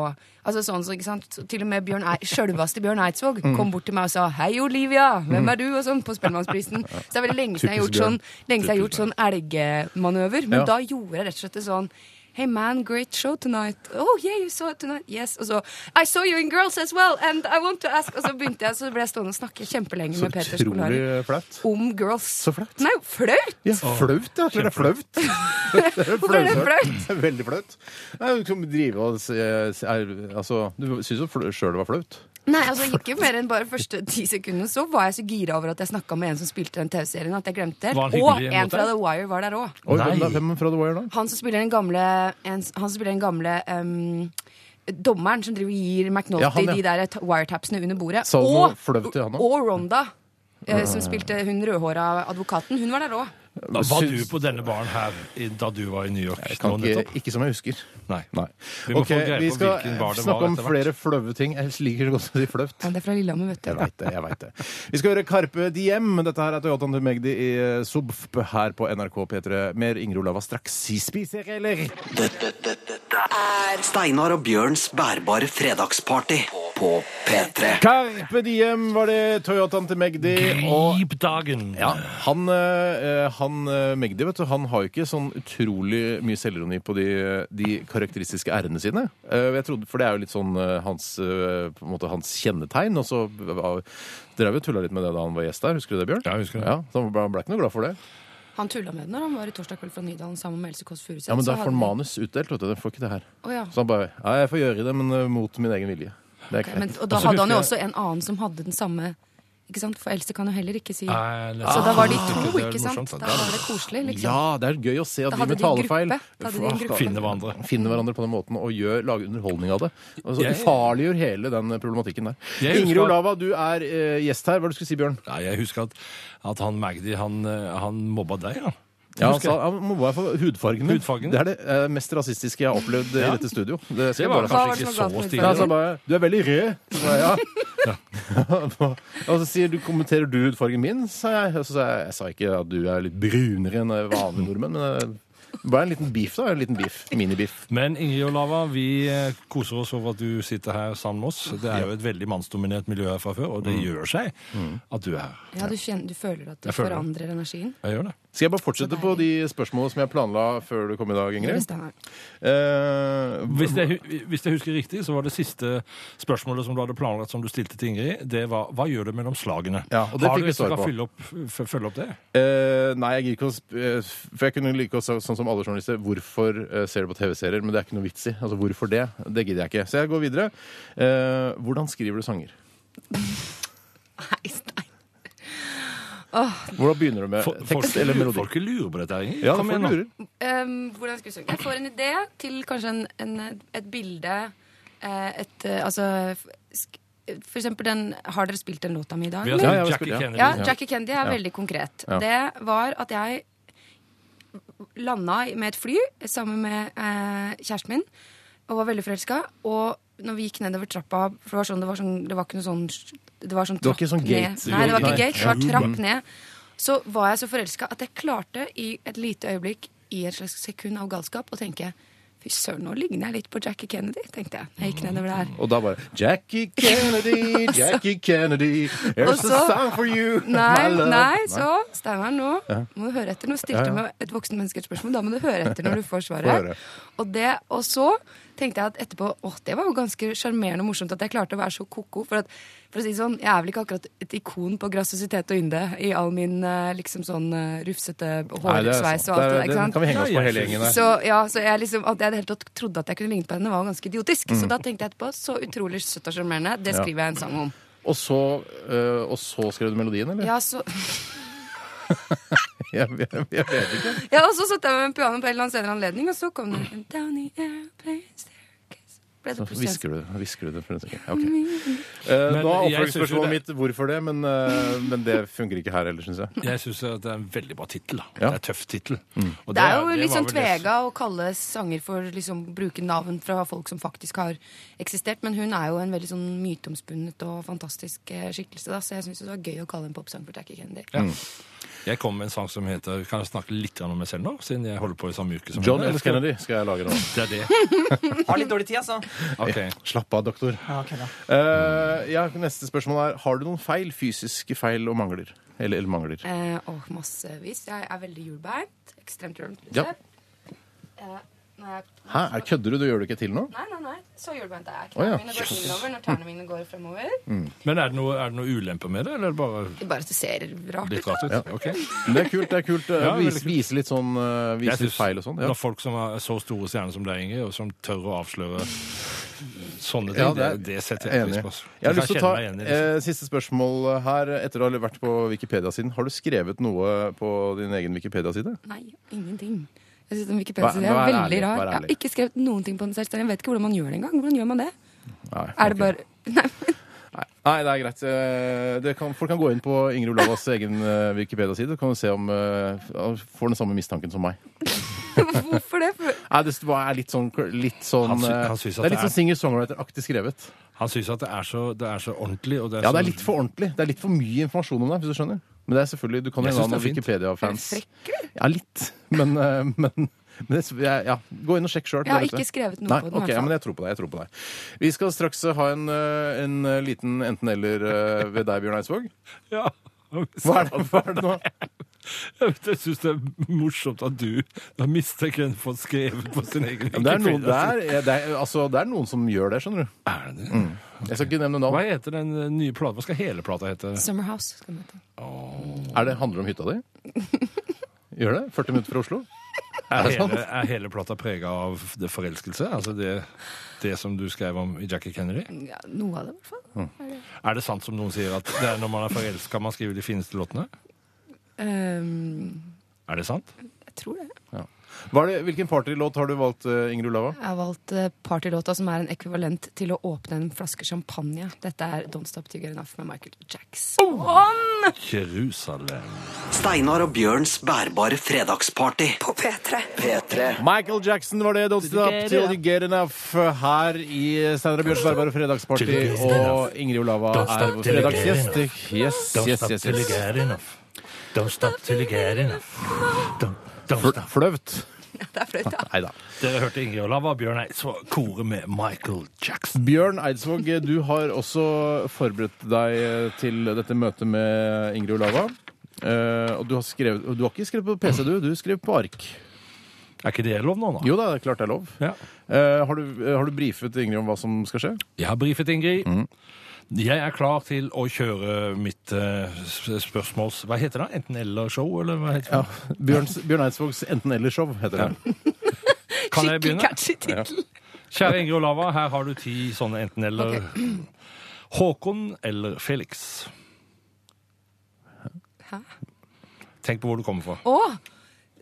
[SPEAKER 6] Altså sånn, så, ikke sant? Så til og med Bjørn Ei- sjølveste Bjørn Eidsvåg kom bort til meg og sa 'Hei, Olivia, hvem er du?' og sånn på Spellemannsprisen. Så det er veldig lenge siden jeg har gjort
[SPEAKER 2] Typisk
[SPEAKER 6] sånn, lenge siden jeg har gjort sånn elgemanøver. Men
[SPEAKER 2] Ja.
[SPEAKER 6] da gjorde jeg rett og slett det sånn Hey man, great show tonight. Oh yeah, you saw it tonight. Yes. Og så I saw you in Girls as well, and I want to ask Og så begynte jeg, så ble jeg stående og snakke kjempelenge
[SPEAKER 2] Så
[SPEAKER 6] med Peter Skolari
[SPEAKER 2] utrolig flaut.
[SPEAKER 6] om Girls.
[SPEAKER 2] Så flaut.
[SPEAKER 6] Nei, flaut!
[SPEAKER 2] Ja, flaut, ja. Det er flaut.
[SPEAKER 6] Hvorfor er det flaut?
[SPEAKER 2] Det er Veldig flaut. Nei, Du kan drive og se, se- er, altså, du syns jo fl- sjøl det var flaut.
[SPEAKER 6] Nei, altså ikke mer enn bare første ti sekundene. Så var jeg så gira over at jeg snakka med en som spilte den TV-serien, at jeg glemte
[SPEAKER 3] Var han
[SPEAKER 6] det.
[SPEAKER 3] hyggelig
[SPEAKER 6] Og
[SPEAKER 3] mot
[SPEAKER 6] en fra
[SPEAKER 3] deg?
[SPEAKER 6] The Wire var der òg.
[SPEAKER 2] Oi,
[SPEAKER 3] Nei.
[SPEAKER 2] hvem, da, hvem fra The Wire da?
[SPEAKER 6] Han som spiller den gamle, en, han som spiller den gamle em, Dommeren som driver og gir McNaughty
[SPEAKER 2] Ja, han, ja.
[SPEAKER 6] de der ta- wiretapsene under bordet.
[SPEAKER 2] Salmo
[SPEAKER 6] og,
[SPEAKER 2] fløv til han også.
[SPEAKER 6] og Ronda, eh, som spilte hun rødhåra advokaten. Hun var der òg.
[SPEAKER 3] Var du
[SPEAKER 2] Syns-
[SPEAKER 3] på denne baren her i- da du var i New York?
[SPEAKER 2] Jeg kan
[SPEAKER 3] nå
[SPEAKER 2] ikke,
[SPEAKER 3] nettopp?
[SPEAKER 2] ikke som jeg husker.
[SPEAKER 3] Nei.
[SPEAKER 2] Nei.
[SPEAKER 3] Vi må
[SPEAKER 2] Ok,
[SPEAKER 3] få greie
[SPEAKER 2] vi
[SPEAKER 3] på
[SPEAKER 2] skal
[SPEAKER 3] hvilken bar det var
[SPEAKER 2] snakke om
[SPEAKER 3] etter hvert.
[SPEAKER 2] flere flaue ting. Jeg liker så godt å si flaut.
[SPEAKER 6] Ja, det er fra Lillehammer, vet du.
[SPEAKER 2] Jeg veit det. jeg vet det. Vi skal høre Karpe Diem. Dette her er Toyotaen til Magdi i eh, Subp her på NRK P3. Mer Ingrid Olava straks. Spiser, eller?
[SPEAKER 1] Dette, dette, dette er Steinar og Bjørns bærbare fredagsparty på P3.
[SPEAKER 2] Karpe Diem var det Toyotaen til Magdi. Og
[SPEAKER 3] Grip dagen.
[SPEAKER 2] ja, han, eh, han eh, Magdi vet du, han har jo ikke sånn utrolig mye selvironi på de, de karakteristiske r-ene sine. Eh, Jeg trodde, for det er jo litt sånn eh, hans, eh, på en måte, hans kjennetegn. Og så eh, Dere har jo tulla litt med det da han var gjest der. Husker du det, Bjørn?
[SPEAKER 3] Ja, jeg husker det.
[SPEAKER 2] Ja, så han ble, han ble ikke noe glad for det.
[SPEAKER 6] Han tulla med det når han var i Torsdag kveld fra Nydalen sammen med Else Kåss Furuseth.
[SPEAKER 2] Ja, men
[SPEAKER 6] så
[SPEAKER 2] da får han
[SPEAKER 6] hadde-
[SPEAKER 2] manus utdelt, vet du. Den får ikke det her.
[SPEAKER 6] Å, ja.
[SPEAKER 2] Så han bare Ja, jeg får gjøre det, men eh, mot min egen vilje. Det er greit.
[SPEAKER 6] men, og da hadde han jo også en annen som hadde den samme ikke sant? For Else kan jo heller ikke si
[SPEAKER 3] Nei, nei.
[SPEAKER 6] Så da var de
[SPEAKER 3] Ah,
[SPEAKER 6] to,
[SPEAKER 3] det er
[SPEAKER 6] ikke sant?
[SPEAKER 3] morsomt,
[SPEAKER 6] Da
[SPEAKER 3] det.
[SPEAKER 6] var det koselig, liksom.
[SPEAKER 2] Ja, det er gøy å se at
[SPEAKER 6] Da
[SPEAKER 2] de
[SPEAKER 6] hadde
[SPEAKER 2] med
[SPEAKER 6] de en
[SPEAKER 2] talefeil
[SPEAKER 6] gruppe. Da hadde de en gruppe.
[SPEAKER 3] Finne hverandre.
[SPEAKER 2] finner hverandre på den måten og gjør, lager underholdning av det. Altså,
[SPEAKER 3] Jeg-
[SPEAKER 2] Ufarliggjør hele den problematikken der.
[SPEAKER 3] Jeg husker-
[SPEAKER 2] Ingrid Olava, du er eh, gjest her. Hva er det du skulle si, Bjørn?
[SPEAKER 3] Nei, jeg husker at, at han Magdi, han, eh, han mobba deg, han.
[SPEAKER 2] Ja, han
[SPEAKER 3] husker
[SPEAKER 2] sa han mobba meg for hudfargen min.
[SPEAKER 3] Hudfargen.
[SPEAKER 2] Det er det eh, mest rasistiske jeg har opplevd eh,
[SPEAKER 3] Ja.
[SPEAKER 2] i dette studio. Det skal
[SPEAKER 3] Det
[SPEAKER 2] jeg
[SPEAKER 3] var
[SPEAKER 2] bare ha.
[SPEAKER 6] var
[SPEAKER 3] kanskje
[SPEAKER 6] det
[SPEAKER 3] ikke så
[SPEAKER 6] som var galt
[SPEAKER 2] Ja,
[SPEAKER 6] med
[SPEAKER 3] stilig.
[SPEAKER 6] hudfargen?
[SPEAKER 2] så han bare, du er veldig rød. Så ba jeg, ja. og så sier du, kommenterer du hudfargen min, sa jeg. Og så sa jeg, jeg sa ikke at du er litt brunere enn vanlige nordmenn, men eh, bare en liten beef da, en liten beef, mini-beef.
[SPEAKER 3] Men Ingrid Olava, vi eh, koser oss over at du sitter her sammen med oss. Det er jo et veldig mannsdominert miljø
[SPEAKER 2] Mm.
[SPEAKER 3] her fra før, og det gjør seg at du er her.
[SPEAKER 6] Ja, du, kjenner, du føler at det
[SPEAKER 3] Jeg føler det.
[SPEAKER 6] forandrer energien.
[SPEAKER 3] Jeg gjør det.
[SPEAKER 2] Skal jeg bare fortsette på de spørsmålene som jeg planla før du kom i dag,
[SPEAKER 6] Hvis
[SPEAKER 2] Ingrid?
[SPEAKER 6] det er-
[SPEAKER 2] Eh,
[SPEAKER 3] Hvis jeg, hu- hvis jeg husker riktig, så var det siste spørsmålet som du hadde planlagt som du stilte til Ingrid, det var hva gjør du mellom slagene?
[SPEAKER 2] Ja, og det
[SPEAKER 3] Har
[SPEAKER 2] fikk
[SPEAKER 3] du
[SPEAKER 2] vi svar
[SPEAKER 3] skal
[SPEAKER 2] på.
[SPEAKER 3] Følge opp, f- følge opp det?
[SPEAKER 2] eh, nei, jeg gir ikke å sp- eh, For jeg kunne like å sa- sånn som alle journalister, hvorfor eh, ser du på TV-serier? Men det er ikke noe vits i. Altså, hvorfor det? Det gidder jeg ikke. Så jeg går videre. Eh, hvordan skriver du sanger?
[SPEAKER 6] Nei, nei.
[SPEAKER 2] Hvordan begynner du med
[SPEAKER 3] Fol-
[SPEAKER 2] tekst eller melodi?
[SPEAKER 3] Folk lurer på dette, her, Ingrid.
[SPEAKER 2] Ja,
[SPEAKER 3] Kom
[SPEAKER 2] folk
[SPEAKER 3] igjen nå.
[SPEAKER 2] lurer.
[SPEAKER 6] Ehm, hvordan skal vi søke? Jeg får en idé til kanskje en, en, et bilde eh, et, eh, Altså f- sk- For eksempel den Har dere spilt den låta mi i dag?
[SPEAKER 3] Vi
[SPEAKER 6] eller?
[SPEAKER 3] har
[SPEAKER 2] Ja, ja,
[SPEAKER 3] ja,
[SPEAKER 2] vi
[SPEAKER 3] Jackie
[SPEAKER 2] spiller, ja.
[SPEAKER 3] Kennedy.
[SPEAKER 6] Ja, Jackie Kennedy er
[SPEAKER 2] Ja.
[SPEAKER 6] veldig konkret.
[SPEAKER 2] Ja.
[SPEAKER 6] Det var at jeg landa med et fly sammen med eh, kjæresten min og var veldig forelska. Og når vi gikk nedover trappa For det var sånn, det var, sånn, det var ikke noe sånn Det var, sånn
[SPEAKER 2] Det var ikke
[SPEAKER 6] trapp
[SPEAKER 2] sånn
[SPEAKER 6] ned.
[SPEAKER 2] gate.
[SPEAKER 6] Nei, det var ikke
[SPEAKER 2] Nei.
[SPEAKER 6] gate. Det var trapp ned. Så var jeg så forelska at jeg klarte i et lite øyeblikk, i et slags sekund av galskap, å tenke Fy søren, nå ligner jeg litt på Jackie Kennedy, tenkte jeg. Jeg gikk nedover der.
[SPEAKER 2] Og da bare Jackie Kennedy, Jackie Kennedy, here's
[SPEAKER 6] Og så-
[SPEAKER 2] a song for you, my
[SPEAKER 6] Nei,
[SPEAKER 2] love.
[SPEAKER 6] nei, så Steinar, nå må du høre etter. Nå stilte
[SPEAKER 2] Ja,
[SPEAKER 6] du
[SPEAKER 2] ja.
[SPEAKER 6] meg et voksen menneske et spørsmål, da må du høre etter når du får
[SPEAKER 2] Får
[SPEAKER 6] svaret.
[SPEAKER 2] høre.
[SPEAKER 6] Og, det, og så tenkte jeg at etterpå Å, det var jo ganske sjarmerende og morsomt at jeg klarte å være så ko-ko. For, at, for å si det sånn, jeg er vel ikke akkurat et ikon på graciositet og ynde i all min eh, liksom sånn eh, rufsete
[SPEAKER 2] Nei, det er sant.
[SPEAKER 6] hårsveis og alt det
[SPEAKER 2] Det er-
[SPEAKER 6] der. ikke
[SPEAKER 2] Den
[SPEAKER 6] sant?
[SPEAKER 2] kan vi henge oss
[SPEAKER 3] Ja,
[SPEAKER 2] på
[SPEAKER 3] jeg
[SPEAKER 2] hele gjengen der.
[SPEAKER 6] Så, ja, så jeg liksom, at jeg i det hele tatt trodde at jeg kunne ligne på henne, var jo ganske idiotisk. Så da tenkte jeg etterpå så utrolig søtt og sjarmerende. Det
[SPEAKER 2] Mm. Ja.
[SPEAKER 6] skriver jeg en sang om.
[SPEAKER 2] Og så, øh, og så skrev du melodien, eller?
[SPEAKER 6] Ja, så...
[SPEAKER 2] Jeg, jeg, jeg vet ikke.
[SPEAKER 6] Ja, og så satt jeg med piano på en eller annen senere anledning, og så kom det en down the airplane staircase Ble det
[SPEAKER 2] Så
[SPEAKER 6] plutselig en-
[SPEAKER 2] hvisker du det. Hvisker du det for en sekund. Ja, ok. Eh,
[SPEAKER 3] Men
[SPEAKER 2] nå er
[SPEAKER 3] jeg synes jo
[SPEAKER 2] oppfølgingsspørsmålet
[SPEAKER 3] det-
[SPEAKER 2] mitt hvorfor det, men, eh, men det funker ikke her heller, syns jeg.
[SPEAKER 3] Jeg syns det er en veldig bra tittel. da.
[SPEAKER 2] Ja. Mm.
[SPEAKER 3] Det er en tøff tittel. Og
[SPEAKER 6] Det er jo
[SPEAKER 3] det
[SPEAKER 6] litt
[SPEAKER 3] var
[SPEAKER 6] sånn
[SPEAKER 3] vel det-
[SPEAKER 6] tvega å kalle sanger for liksom bruke navn fra folk som faktisk har eksistert, men hun er jo en veldig sånn myteomspunnet og fantastisk eh, skikkelse, da, så jeg syns det var gøy å kalle en popsang for Jackie Kennedy.
[SPEAKER 3] Ja. Jeg kom med en sang som heter Kan jeg snakke litt om meg selv nå? Siden jeg holder på i samme uke som
[SPEAKER 2] John
[SPEAKER 3] henne,
[SPEAKER 2] F.
[SPEAKER 3] skal-
[SPEAKER 2] Kennedy skal jeg lage nå.
[SPEAKER 3] Det er det.
[SPEAKER 4] Har litt dårlig tid, altså.
[SPEAKER 3] Ok.
[SPEAKER 2] Slapp av, doktor. Eh, ja, neste spørsmål er har du noen feil, fysiske feil og mangler. Eller, eller mangler.
[SPEAKER 6] Eh, og massevis. Jeg er veldig hjulbeint. Ekstremt hjulbeint.
[SPEAKER 2] Ja.
[SPEAKER 6] Eh, når jeg-
[SPEAKER 2] Hæ, er- kødder du? Du gjør det ikke til nå?
[SPEAKER 6] Nei, nei, nei. Så hjulbeint er jeg.
[SPEAKER 2] Å, ja.
[SPEAKER 6] Knærne mine går innover når tærne mine går fremover.
[SPEAKER 3] Men er det noe, er det noe ulempe med det, eller er det bare
[SPEAKER 6] Det er bare at det ser rart ut.
[SPEAKER 3] litt rart ut?
[SPEAKER 2] Ja.
[SPEAKER 3] Ok.
[SPEAKER 2] Men det er kult. det er kult eh,
[SPEAKER 3] Ja, veldig
[SPEAKER 2] vise,
[SPEAKER 3] kult.
[SPEAKER 2] vise litt sånn eh, Vise
[SPEAKER 3] Jeg
[SPEAKER 2] litt
[SPEAKER 3] synes
[SPEAKER 2] feil og sånn. Ja.
[SPEAKER 3] Når folk som er så store stjerner som deg, Inge, og som tør å avsløre sånne ting,
[SPEAKER 2] Ja,
[SPEAKER 3] det,
[SPEAKER 2] det er-
[SPEAKER 3] det setter
[SPEAKER 2] Jeg er
[SPEAKER 3] jeg
[SPEAKER 2] enig.
[SPEAKER 3] pris på. altså.
[SPEAKER 2] Jeg har
[SPEAKER 3] kan
[SPEAKER 2] lyst til å
[SPEAKER 3] kjenne
[SPEAKER 2] ta
[SPEAKER 3] meg liksom. igjen i det.
[SPEAKER 2] eh, siste spørsmål her. Etter å ha vært på Wikipedia-siden, har du skrevet noe på din egen Wikipedia-side?
[SPEAKER 6] Nei, ingenting. Jeg synes den Wikipedia-siden
[SPEAKER 2] Vær- vær
[SPEAKER 6] er veldig
[SPEAKER 2] ærlig,
[SPEAKER 6] rar.
[SPEAKER 2] vær
[SPEAKER 6] Jeg har
[SPEAKER 2] ærlig.
[SPEAKER 6] ikke skrevet noen ting på den selv. så Jeg vet ikke hvordan man gjør det engang. Hvordan gjør man det?
[SPEAKER 2] Nei,
[SPEAKER 6] Er
[SPEAKER 2] ok.
[SPEAKER 6] det bare Nei, men
[SPEAKER 2] Nei, nei, det er greit. Eh, Det kan, folk kan gå inn på Ingrid Olavas egen eh, Wikipedia-side og kan se om eh, får den samme mistanken som meg.
[SPEAKER 6] hvorfor det? For...
[SPEAKER 2] Nei, det er litt sånn, litt sånn
[SPEAKER 3] Han sy-
[SPEAKER 2] eh,
[SPEAKER 3] han
[SPEAKER 2] Det
[SPEAKER 3] synes at
[SPEAKER 2] er litt
[SPEAKER 3] det er-
[SPEAKER 2] sånn singer-songwriter-aktig skrevet.
[SPEAKER 3] Han syns at det er, så, det er så ordentlig, og det er,
[SPEAKER 2] Ja, det er
[SPEAKER 3] så-
[SPEAKER 2] litt for ordentlig. Det er litt for mye informasjon om deg, hvis du skjønner. Men det er selvfølgelig, du kan
[SPEAKER 3] Jeg
[SPEAKER 2] jo ha noen
[SPEAKER 3] synes det er fint.
[SPEAKER 2] Wikipedia-fans.
[SPEAKER 6] Er det
[SPEAKER 2] Ja, litt. Men, eh, men men det, ja, ja. Gå inn og sjekk sjøl.
[SPEAKER 6] Jeg har ikke skrevet noe
[SPEAKER 2] Nei,
[SPEAKER 6] på den,
[SPEAKER 2] ok,
[SPEAKER 6] altså. i hvert
[SPEAKER 2] ja,
[SPEAKER 6] fall.
[SPEAKER 2] men jeg tror på deg. jeg tror på deg. Vi skal straks eh, ha en, eh, en eh, liten enten-eller eh, ved deg, Bjørn Eidsvåg.
[SPEAKER 3] Ja.
[SPEAKER 2] Hva er det, hva er det nå?
[SPEAKER 3] Jeg vet, jeg syns det er morsomt at du da mistenker en for skrevet på sin egen
[SPEAKER 2] Men Det er, noen, det,
[SPEAKER 3] Wikipedia-side.
[SPEAKER 2] er, det, er, altså, det er noen som gjør det, skjønner du.
[SPEAKER 3] Er det?
[SPEAKER 2] Jeg skal ikke nevne
[SPEAKER 3] Hva
[SPEAKER 2] navn.
[SPEAKER 3] heter den eh, nye plata? Hva skal hele plata hete?
[SPEAKER 6] Summerhouse. Skal den hete.
[SPEAKER 2] Er det, handler det om hytta di? Gjør det? 40 minutter fra Oslo? Er
[SPEAKER 3] Er
[SPEAKER 2] det sant?
[SPEAKER 3] hele, er hele plata prega av det forelskelse? Altså det, det som du skrev om i Jackie Kennedy?
[SPEAKER 6] Ja, noe av det, i hvert fall.
[SPEAKER 3] Mm. Er det sant som noen sier, at det er når man er forelska man skriver de fineste låtene?
[SPEAKER 6] Ehm,
[SPEAKER 3] Er det sant?
[SPEAKER 6] jeg tror det.
[SPEAKER 2] Hva er det, hvilken partylåt har du valgt, eh, Ingrid Olava?
[SPEAKER 6] Jeg har valgt eh, partylåta som er en ekvivalent til å åpne en flaske champagne. Dette er Don't Stop Tiger Enough med Michael Jackson.
[SPEAKER 3] Jerusalem.
[SPEAKER 1] Steinar og Bjørns bærbare fredagsparty. På P3. P3.
[SPEAKER 2] Michael Jackson var det. Don't stop till you get enough eh, her i Steinar og Bjørns Bærbare fredagsparty.
[SPEAKER 3] Till you get
[SPEAKER 2] Og Ingrid Olava er vår fredagsgjest. Yes, yes, yes. yes.
[SPEAKER 3] enough. Don't stop till you get enough.
[SPEAKER 2] Fl- Flaut.
[SPEAKER 6] Det er flaut, ja.
[SPEAKER 2] Nei da.
[SPEAKER 3] Dere hørte Ingrid Olava og Bjørn Eidsvåg kore med Michael Jackson.
[SPEAKER 2] Bjørn Eidsvåg, eh, du har også forberedt deg til dette møtet med Ingrid Olava. Eh, og du har, skrevet, og du har ikke skrevet på PC, du. Du skrev på ark.
[SPEAKER 3] Er ikke det lov nå, da?
[SPEAKER 2] Jo da, det er klart det er lov.
[SPEAKER 3] Ja.
[SPEAKER 2] Eh, har, du, eh, har du brifet Ingrid om hva som skal skje?
[SPEAKER 3] Jeg har brifet Ingrid.
[SPEAKER 2] Mm.
[SPEAKER 3] Jeg er klar til å kjøre mitt eh, s- spørsmåls... Hva heter det? Enten-eller-show, eller hva heter det?
[SPEAKER 2] Bjørns, Bjørn Eidsvågs Enten-eller-show heter det.
[SPEAKER 3] Kan jeg
[SPEAKER 6] Skikkelig
[SPEAKER 3] begynne?
[SPEAKER 6] catchy tittel.
[SPEAKER 3] Kjære Ingrid Olava, her har du ti sånne enten-eller. Håkon eller Felix?
[SPEAKER 6] Hæ?
[SPEAKER 3] Tenk på hvor du kommer fra.
[SPEAKER 6] Å!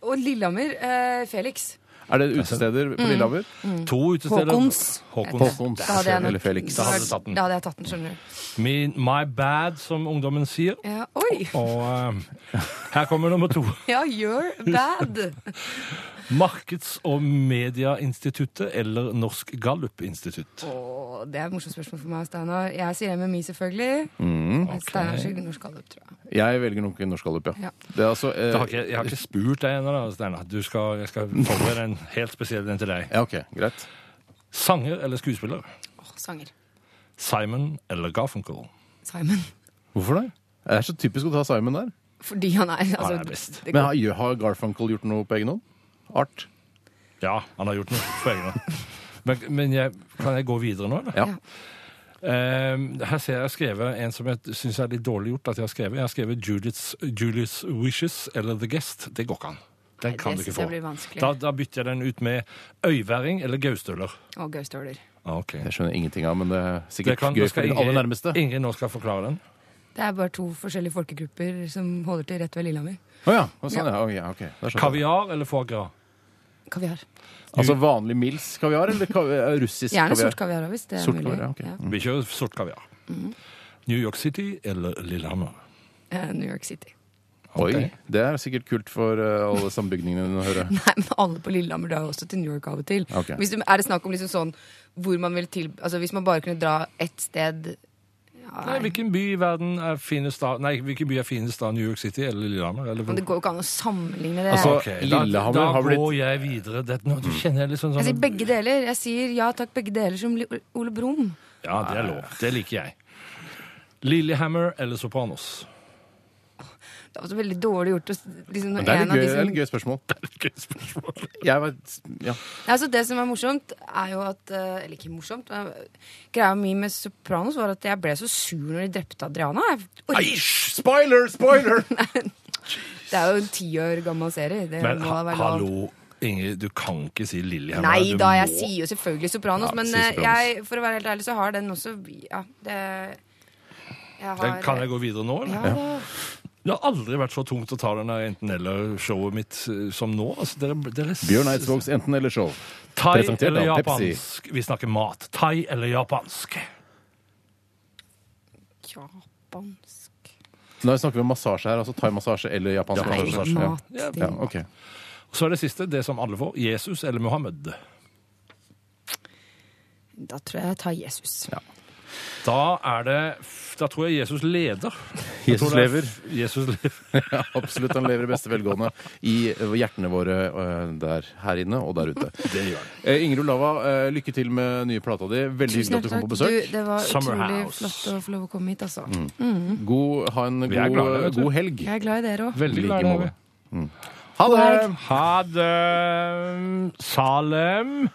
[SPEAKER 6] Og Lillehammer. Eh, Felix.
[SPEAKER 2] Er det utesteder
[SPEAKER 6] Mm.
[SPEAKER 2] på Lillehammer?
[SPEAKER 3] To utesteder.
[SPEAKER 6] Håkons.
[SPEAKER 3] Håkons.
[SPEAKER 2] Håkons
[SPEAKER 6] Da hadde jeg nok-
[SPEAKER 2] eller Felix?
[SPEAKER 3] Da hadde du tatt den.
[SPEAKER 6] Da hadde jeg tatt den, skjønner du.
[SPEAKER 3] Min, my bad, som ungdommen sier.
[SPEAKER 6] Ja, oi!
[SPEAKER 3] Og eh, her kommer nummer to.
[SPEAKER 6] Ja, you're bad.
[SPEAKER 3] Markeds- og medieinstituttet eller Norsk Gallup-institutt?
[SPEAKER 6] Åh, det er et morsomt spørsmål for meg og Steinar. Jeg sier MMI, selvfølgelig. Men Steinar sier Norsk Gallup, tror jeg.
[SPEAKER 2] Jeg velger nok Norsk Gallup, ja.
[SPEAKER 6] Ja.
[SPEAKER 2] Det er altså eh,
[SPEAKER 3] Jeg har, ikke, jeg har ikke spurt deg ennå, da, Steinar. Du skal- Jeg skal forberede en helt spesiell en til deg.
[SPEAKER 2] Ja, OK. Greit.
[SPEAKER 3] Sanger eller skuespiller?
[SPEAKER 6] Åh, sanger.
[SPEAKER 3] Simon eller Garfunkel?
[SPEAKER 6] Simon.
[SPEAKER 2] Hvorfor det? Det er så typisk å ta Simon der.
[SPEAKER 6] Fordi han er altså,
[SPEAKER 3] Han er best.
[SPEAKER 6] det-
[SPEAKER 2] Men har, har Garfunkel gjort noe på egen hånd? Art?
[SPEAKER 3] Ja, han har gjort noe på egen hånd. Men, men jeg, kan jeg gå videre nå, eller?
[SPEAKER 2] Ja.
[SPEAKER 3] Ehm, her ser jeg jeg har skrevet en som jeg syns er litt dårlig gjort at jeg har skrevet. Jeg har skrevet Judith's, Julie's Wishes eller The Guest. Det går ikke an. Den
[SPEAKER 6] Nei,
[SPEAKER 3] kan
[SPEAKER 6] det
[SPEAKER 3] du ikke
[SPEAKER 6] synes jeg
[SPEAKER 3] få.
[SPEAKER 6] blir vanskelig.
[SPEAKER 3] Da, da bytter jeg den ut med øyværing eller gaustøler.
[SPEAKER 6] Og Gaustøler.
[SPEAKER 3] Okay.
[SPEAKER 2] Det skjønner jeg ingenting av, men det er
[SPEAKER 3] Ah, Det
[SPEAKER 2] sikkert
[SPEAKER 3] kan,
[SPEAKER 2] gøy
[SPEAKER 3] det skal
[SPEAKER 2] for de aller nærmeste.
[SPEAKER 3] Ingrid, Ingrid nå skal forklare den.
[SPEAKER 6] Det er bare to forskjellige folkegrupper som holder til rett ved Lillehammer.
[SPEAKER 2] Å ja. å, Sånn, ja. Å, ja ok. Da skjønner jeg.
[SPEAKER 3] Kaviar eller foie gras?
[SPEAKER 6] Kaviar.
[SPEAKER 2] Altså vanlig Mills kaviar eller kav russisk
[SPEAKER 6] Gjerne
[SPEAKER 2] kaviar?
[SPEAKER 6] sort kaviar òg, hvis det er
[SPEAKER 2] Sort
[SPEAKER 6] mulig.
[SPEAKER 2] kaviar, ja, ok.
[SPEAKER 3] Vi kjører sort kaviar.
[SPEAKER 6] Mhm.
[SPEAKER 3] New York City eller Lillehammer?
[SPEAKER 6] Eh, New York City.
[SPEAKER 2] Oi, det er sikkert kult for eh, alle sambygningene dine å høre.
[SPEAKER 6] Nei, men alle på Lillehammer drar jo også til New York av og til.
[SPEAKER 2] Ok.
[SPEAKER 6] Hvis du, er det snakk om liksom sånn hvor man vil til Altså hvis man bare kunne dra ett sted ja,
[SPEAKER 3] Nei, hvilken by i verden er finest da? Nei, hvilken by er finest da? New York City eller Lillehammer? Eller
[SPEAKER 6] Men det går jo ikke an å sammenligne det.
[SPEAKER 2] Altså,
[SPEAKER 3] Ok,
[SPEAKER 2] Lillehammer
[SPEAKER 3] da,
[SPEAKER 2] har
[SPEAKER 3] Da
[SPEAKER 2] blitt-
[SPEAKER 3] går jeg videre. Det, nå, du kjenner jeg litt sånn
[SPEAKER 6] jeg
[SPEAKER 3] sånn
[SPEAKER 6] sier Altså, begge deler. Jeg sier ja takk, begge deler, som Li- Ole Brumm.
[SPEAKER 3] Ja, det er lov. Det liker jeg. Lillehammer eller Sopranos?
[SPEAKER 6] Det var så veldig dårlig gjort. å s- Liksom, når
[SPEAKER 2] Det er litt
[SPEAKER 6] en av
[SPEAKER 2] gøy,
[SPEAKER 6] de
[SPEAKER 2] det er
[SPEAKER 6] som,
[SPEAKER 2] litt gøy spørsmål.
[SPEAKER 3] Gøy spørsmål.
[SPEAKER 2] Jeg vet, ja.
[SPEAKER 6] Nei, altså, det som er morsomt, er jo at eh, Eller ikke morsomt. eh, Greia mi med Sopranos var at jeg ble så sur når de drepte Adriana. Jeg, ork-
[SPEAKER 2] Eish, spoiler, spoiler!
[SPEAKER 6] det er jo en ti år gammel serie. Det
[SPEAKER 3] Men
[SPEAKER 6] må
[SPEAKER 3] ha,
[SPEAKER 6] da være lov.
[SPEAKER 3] hallo, Ingrid, du kan ikke si Lillehammer.
[SPEAKER 6] Nei
[SPEAKER 3] Du
[SPEAKER 6] da,
[SPEAKER 3] må-
[SPEAKER 6] jeg sier jo selvfølgelig Sopranos,
[SPEAKER 2] Ja,
[SPEAKER 6] men
[SPEAKER 2] si
[SPEAKER 6] eh,
[SPEAKER 2] Sopranos.
[SPEAKER 6] jeg, for å være helt ærlig, så har den også Ja, det jeg
[SPEAKER 3] Den- Kan jeg gå videre nå, eller?
[SPEAKER 6] Ja, da.
[SPEAKER 3] Det har aldri vært så tungt å ta den der enten-eller-showet mitt eh, som nå. Altså, dere, dere
[SPEAKER 2] Bjørn Eidsvågs Enten-eller-show.
[SPEAKER 3] Thai
[SPEAKER 2] presentert
[SPEAKER 3] eller
[SPEAKER 2] av Pepsi.
[SPEAKER 3] japansk? Vi snakker mat. Thai eller japansk?
[SPEAKER 6] Japansk
[SPEAKER 2] Nå snakker vi om massasje her, altså thaimassasje eller japansk
[SPEAKER 3] Japansk
[SPEAKER 6] Nei,
[SPEAKER 2] massasje.
[SPEAKER 3] massasje,
[SPEAKER 6] mat.
[SPEAKER 3] Ja,
[SPEAKER 6] det-
[SPEAKER 2] Ja, ok.
[SPEAKER 3] Så er det siste, det som alle får. Jesus eller Mohammed?
[SPEAKER 6] Da tror jeg jeg tar Jesus.
[SPEAKER 3] Da er det f- Da tror jeg Jesus leder. Jeg
[SPEAKER 2] Jesus
[SPEAKER 3] tror det er
[SPEAKER 2] lever.
[SPEAKER 3] f- Jesus lever.
[SPEAKER 2] Ja, absolutt. Han lever i beste velgående i eh, hjertene våre eh, der her inne og der ute. Det gjør han. Ingrid Olava, eh, lykke til med nye plata di. Veldig hyggelig at du kom på besøk. Mm.
[SPEAKER 6] Du, det var
[SPEAKER 3] Summer
[SPEAKER 6] utrolig
[SPEAKER 3] House.
[SPEAKER 6] flott å få lov å komme hit, altså.
[SPEAKER 2] God, ha en
[SPEAKER 3] Vi er glad i deg,
[SPEAKER 2] god,
[SPEAKER 3] vet du.
[SPEAKER 2] god helg.
[SPEAKER 6] Jeg er glad i dere òg.
[SPEAKER 2] I
[SPEAKER 3] Veldig
[SPEAKER 2] like
[SPEAKER 3] glad i
[SPEAKER 2] måte.
[SPEAKER 3] deg.
[SPEAKER 2] Ha det!
[SPEAKER 3] Ha det. Salem.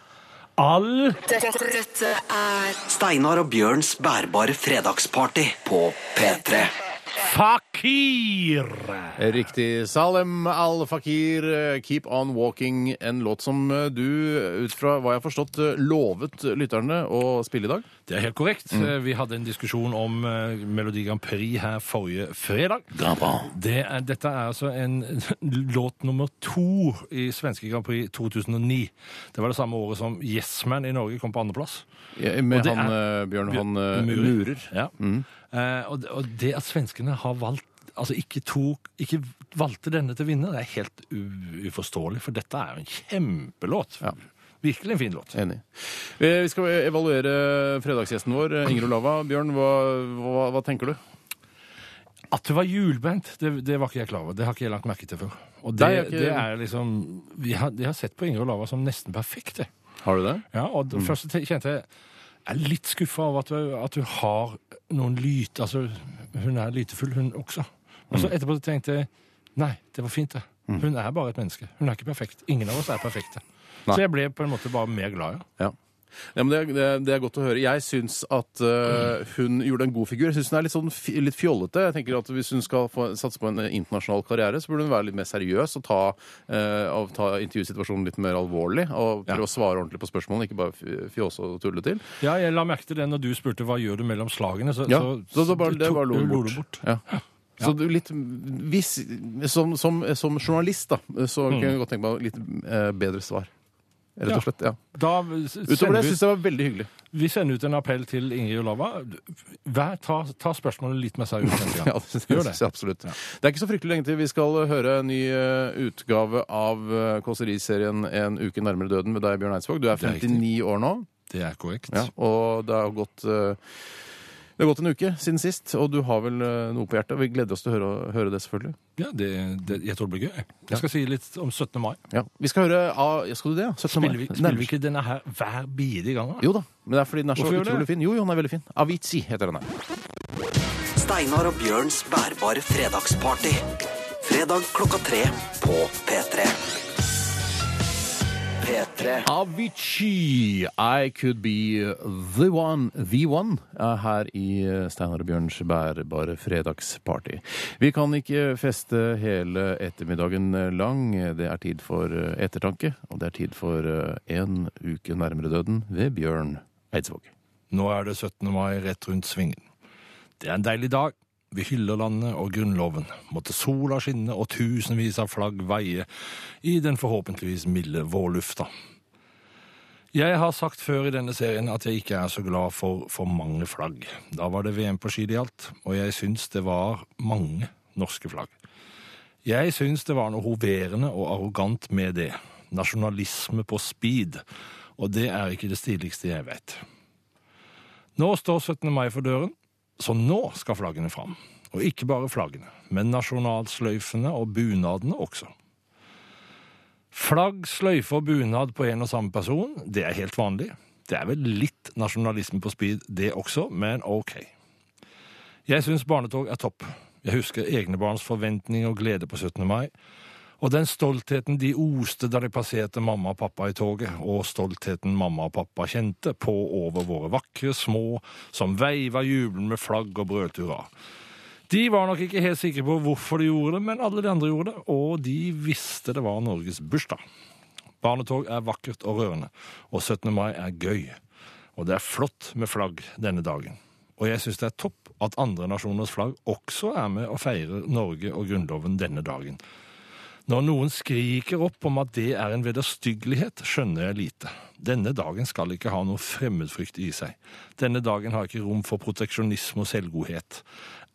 [SPEAKER 3] Al.
[SPEAKER 5] Dette, dette er
[SPEAKER 1] Steinar og Bjørns bærbare fredagsparty på P3.
[SPEAKER 3] Fakir.
[SPEAKER 2] Riktig. Salem al-Fakir, eh, 'Keep On Walking'. En låt som eh, du, ut fra hva jeg har forstått, eh, lovet lytterne å spille i dag.
[SPEAKER 3] Det er helt korrekt.
[SPEAKER 2] Mm.
[SPEAKER 3] Eh, Vi hadde en diskusjon om eh, Melodi Grand Prix her forrige fredag. Det er, dette er altså en låt nummer to i svenske Grand Prix 2009. Det var det samme året som Yes Man i Norge kom på andreplass.
[SPEAKER 2] Ja, Med
[SPEAKER 3] Og det
[SPEAKER 2] han
[SPEAKER 3] er-
[SPEAKER 2] eh, Bjørn Han eh, Murer. Mm.
[SPEAKER 3] Ja. Eh, og, det- og det at svenskene har valgt Altså ikke, tok, ikke valgte denne til å vinne, det er helt u uforståelig, for dette er jo en kjempelåt.
[SPEAKER 2] Ja.
[SPEAKER 3] Virkelig en fin låt.
[SPEAKER 2] Enig. Eh, Vi skal evaluere fredagsgjesten vår, eh, Ingrid Olava. Bjørn, hva, hva, hva tenker du?
[SPEAKER 3] At det var hjulbeint, det, det var ikke jeg klar over. Det har ikke jeg lagt merke til før. Og det,
[SPEAKER 2] Nei, jeg har ikke-
[SPEAKER 3] det er liksom vi har, Jeg har sett på Ingrid Olava som nesten perfekt. jeg.
[SPEAKER 2] Har du det?
[SPEAKER 3] Ja, og
[SPEAKER 2] Mm.
[SPEAKER 3] det første te- kjente jeg jeg er litt skuffa over at hun, at hun har noen lyt... Altså, hun er lytefull, hun også. Og så
[SPEAKER 2] Mm.
[SPEAKER 3] etterpå så tenkte jeg nei, det var fint, det. Hun er bare et menneske. Hun er ikke perfekt. Ingen av oss er perfekte.
[SPEAKER 2] Nei.
[SPEAKER 3] Så jeg ble på en måte bare mer glad i henne.
[SPEAKER 2] Ja. Ja, men det, er- det, er- det er godt å høre. Jeg syns at eh, hun gjorde en god figur. Jeg syns hun er litt, sånn, fi- litt fjollete. Jeg tenker at Hvis hun skal få, satse på en eh, internasjonal karriere, så burde hun være litt mer seriøs og ta, eh, og ta intervjusituasjonen litt mer alvorlig. Og prøve å svare ordentlig på spørsmålene, ikke bare fj- fjåse og tulle til.
[SPEAKER 3] Ja, jeg la merke til det når du spurte hva gjør du mellom slagene. Så,
[SPEAKER 2] Ja,
[SPEAKER 3] så,
[SPEAKER 2] så, det bare, det
[SPEAKER 3] tok
[SPEAKER 2] bare lo
[SPEAKER 3] du-
[SPEAKER 2] hun bort.
[SPEAKER 3] du
[SPEAKER 2] Ja. Så du litt, hvis, som, som, som journalist, da, så kunne jeg godt tenke meg litt eh, bedre svar. Rett
[SPEAKER 3] Ja.
[SPEAKER 2] og slett. Mm. ja.
[SPEAKER 3] Da s-
[SPEAKER 2] Utover
[SPEAKER 3] sender
[SPEAKER 2] det
[SPEAKER 3] vi,
[SPEAKER 2] syns jeg det var veldig hyggelig.
[SPEAKER 3] vi sender ut en appell til Ingrid Olava. Vær, ta, ta spørsmålet litt mer seriøst. neste gang.
[SPEAKER 2] Ja, det
[SPEAKER 3] Gjør
[SPEAKER 2] synes jeg absolutt. Det er ikke så fryktelig lenge til vi skal høre en ny eh, utgave av eh, kåseriserien En uke nærmere døden med deg, Bjørn Eidsvåg. Du er
[SPEAKER 3] Det er riktig.
[SPEAKER 2] 59 år nå,
[SPEAKER 3] Det er korrekt.
[SPEAKER 2] og det har gått eh, det har gått en uke siden sist, og du har vel eh, noe på hjertet. Vi gleder oss til å høre, høre det, selvfølgelig.
[SPEAKER 3] Ja, det, det, jeg tror det blir gøy. Jeg skal si litt om 17. mai.
[SPEAKER 2] Ja. Vi skal høre av ja, Skal du det? ja? 17. mai.
[SPEAKER 3] Spiller vi,
[SPEAKER 2] Nærmere.
[SPEAKER 3] spiller vi ikke denne her hver bidige gang? da?
[SPEAKER 2] Jo da, men det er fordi den er så
[SPEAKER 3] Hvorfor gjør du
[SPEAKER 2] utrolig
[SPEAKER 3] det?
[SPEAKER 2] fin. Jo, jo, den er veldig fin. Avicii heter den her.
[SPEAKER 1] Steinar og Bjørns bærbare fredagsparty. Fredag klokka tre på P3. P3.
[SPEAKER 2] Avicii, I could be the one, the one, er her i eh, Steinar og Bjørns bærbare fredagsparty. Vi kan ikke feste hele ettermiddagen eh, lang. Det er tid for eh, ettertanke, og det er tid for eh, En uke nærmere døden ved Bjørn Eidsvåg.
[SPEAKER 3] Nå er det 17. mai rett rundt svingen. Det er en deilig dag. Vi hyller landet og grunnloven. Måtte sola skinne og tusenvis av flagg veie i den forhåpentligvis milde vårlufta. Jeg har sagt før i denne serien at jeg ikke er så glad for for mange flagg. Da var det VM på ski det gjaldt, og jeg syns det var mange norske flagg. Jeg syns det var noe hoverende og arrogant med det. Nasjonalisme på speed. Og det er ikke det stiligste jeg vet. Nå står 17. mai for døren, så nå skal flaggene fram. Og ikke bare flaggene, men nasjonalsløyfene og bunadene også. Flagg, sløyfe og bunad på en og samme person, det er helt vanlig. Det er vel litt nasjonalisme på speed, det også, men ok. Jeg syns barnetog er topp. Jeg husker egne barns forventning og glede på 17. mai. Og den stoltheten de oste da de passerte mamma og pappa i toget, og stoltheten mamma og pappa kjente på over våre vakre små som veiva jubelen med flagg og brøt hurra. De var nok ikke helt sikre på hvorfor de gjorde det, men alle de andre gjorde det, og de visste det var Norges bursdag. Barnetog er vakkert og rørende, og 17. mai er gøy. Og det er flott med flagg denne dagen. Og jeg syns det er topp at andre nasjoners flagg også er med og feirer Norge og Grunnloven denne dagen. Når noen skriker opp om at det er en vederstyggelighet, skjønner jeg lite. Denne dagen skal ikke ha noe fremmedfrykt i seg. Denne dagen har ikke rom for proteksjonisme og selvgodhet.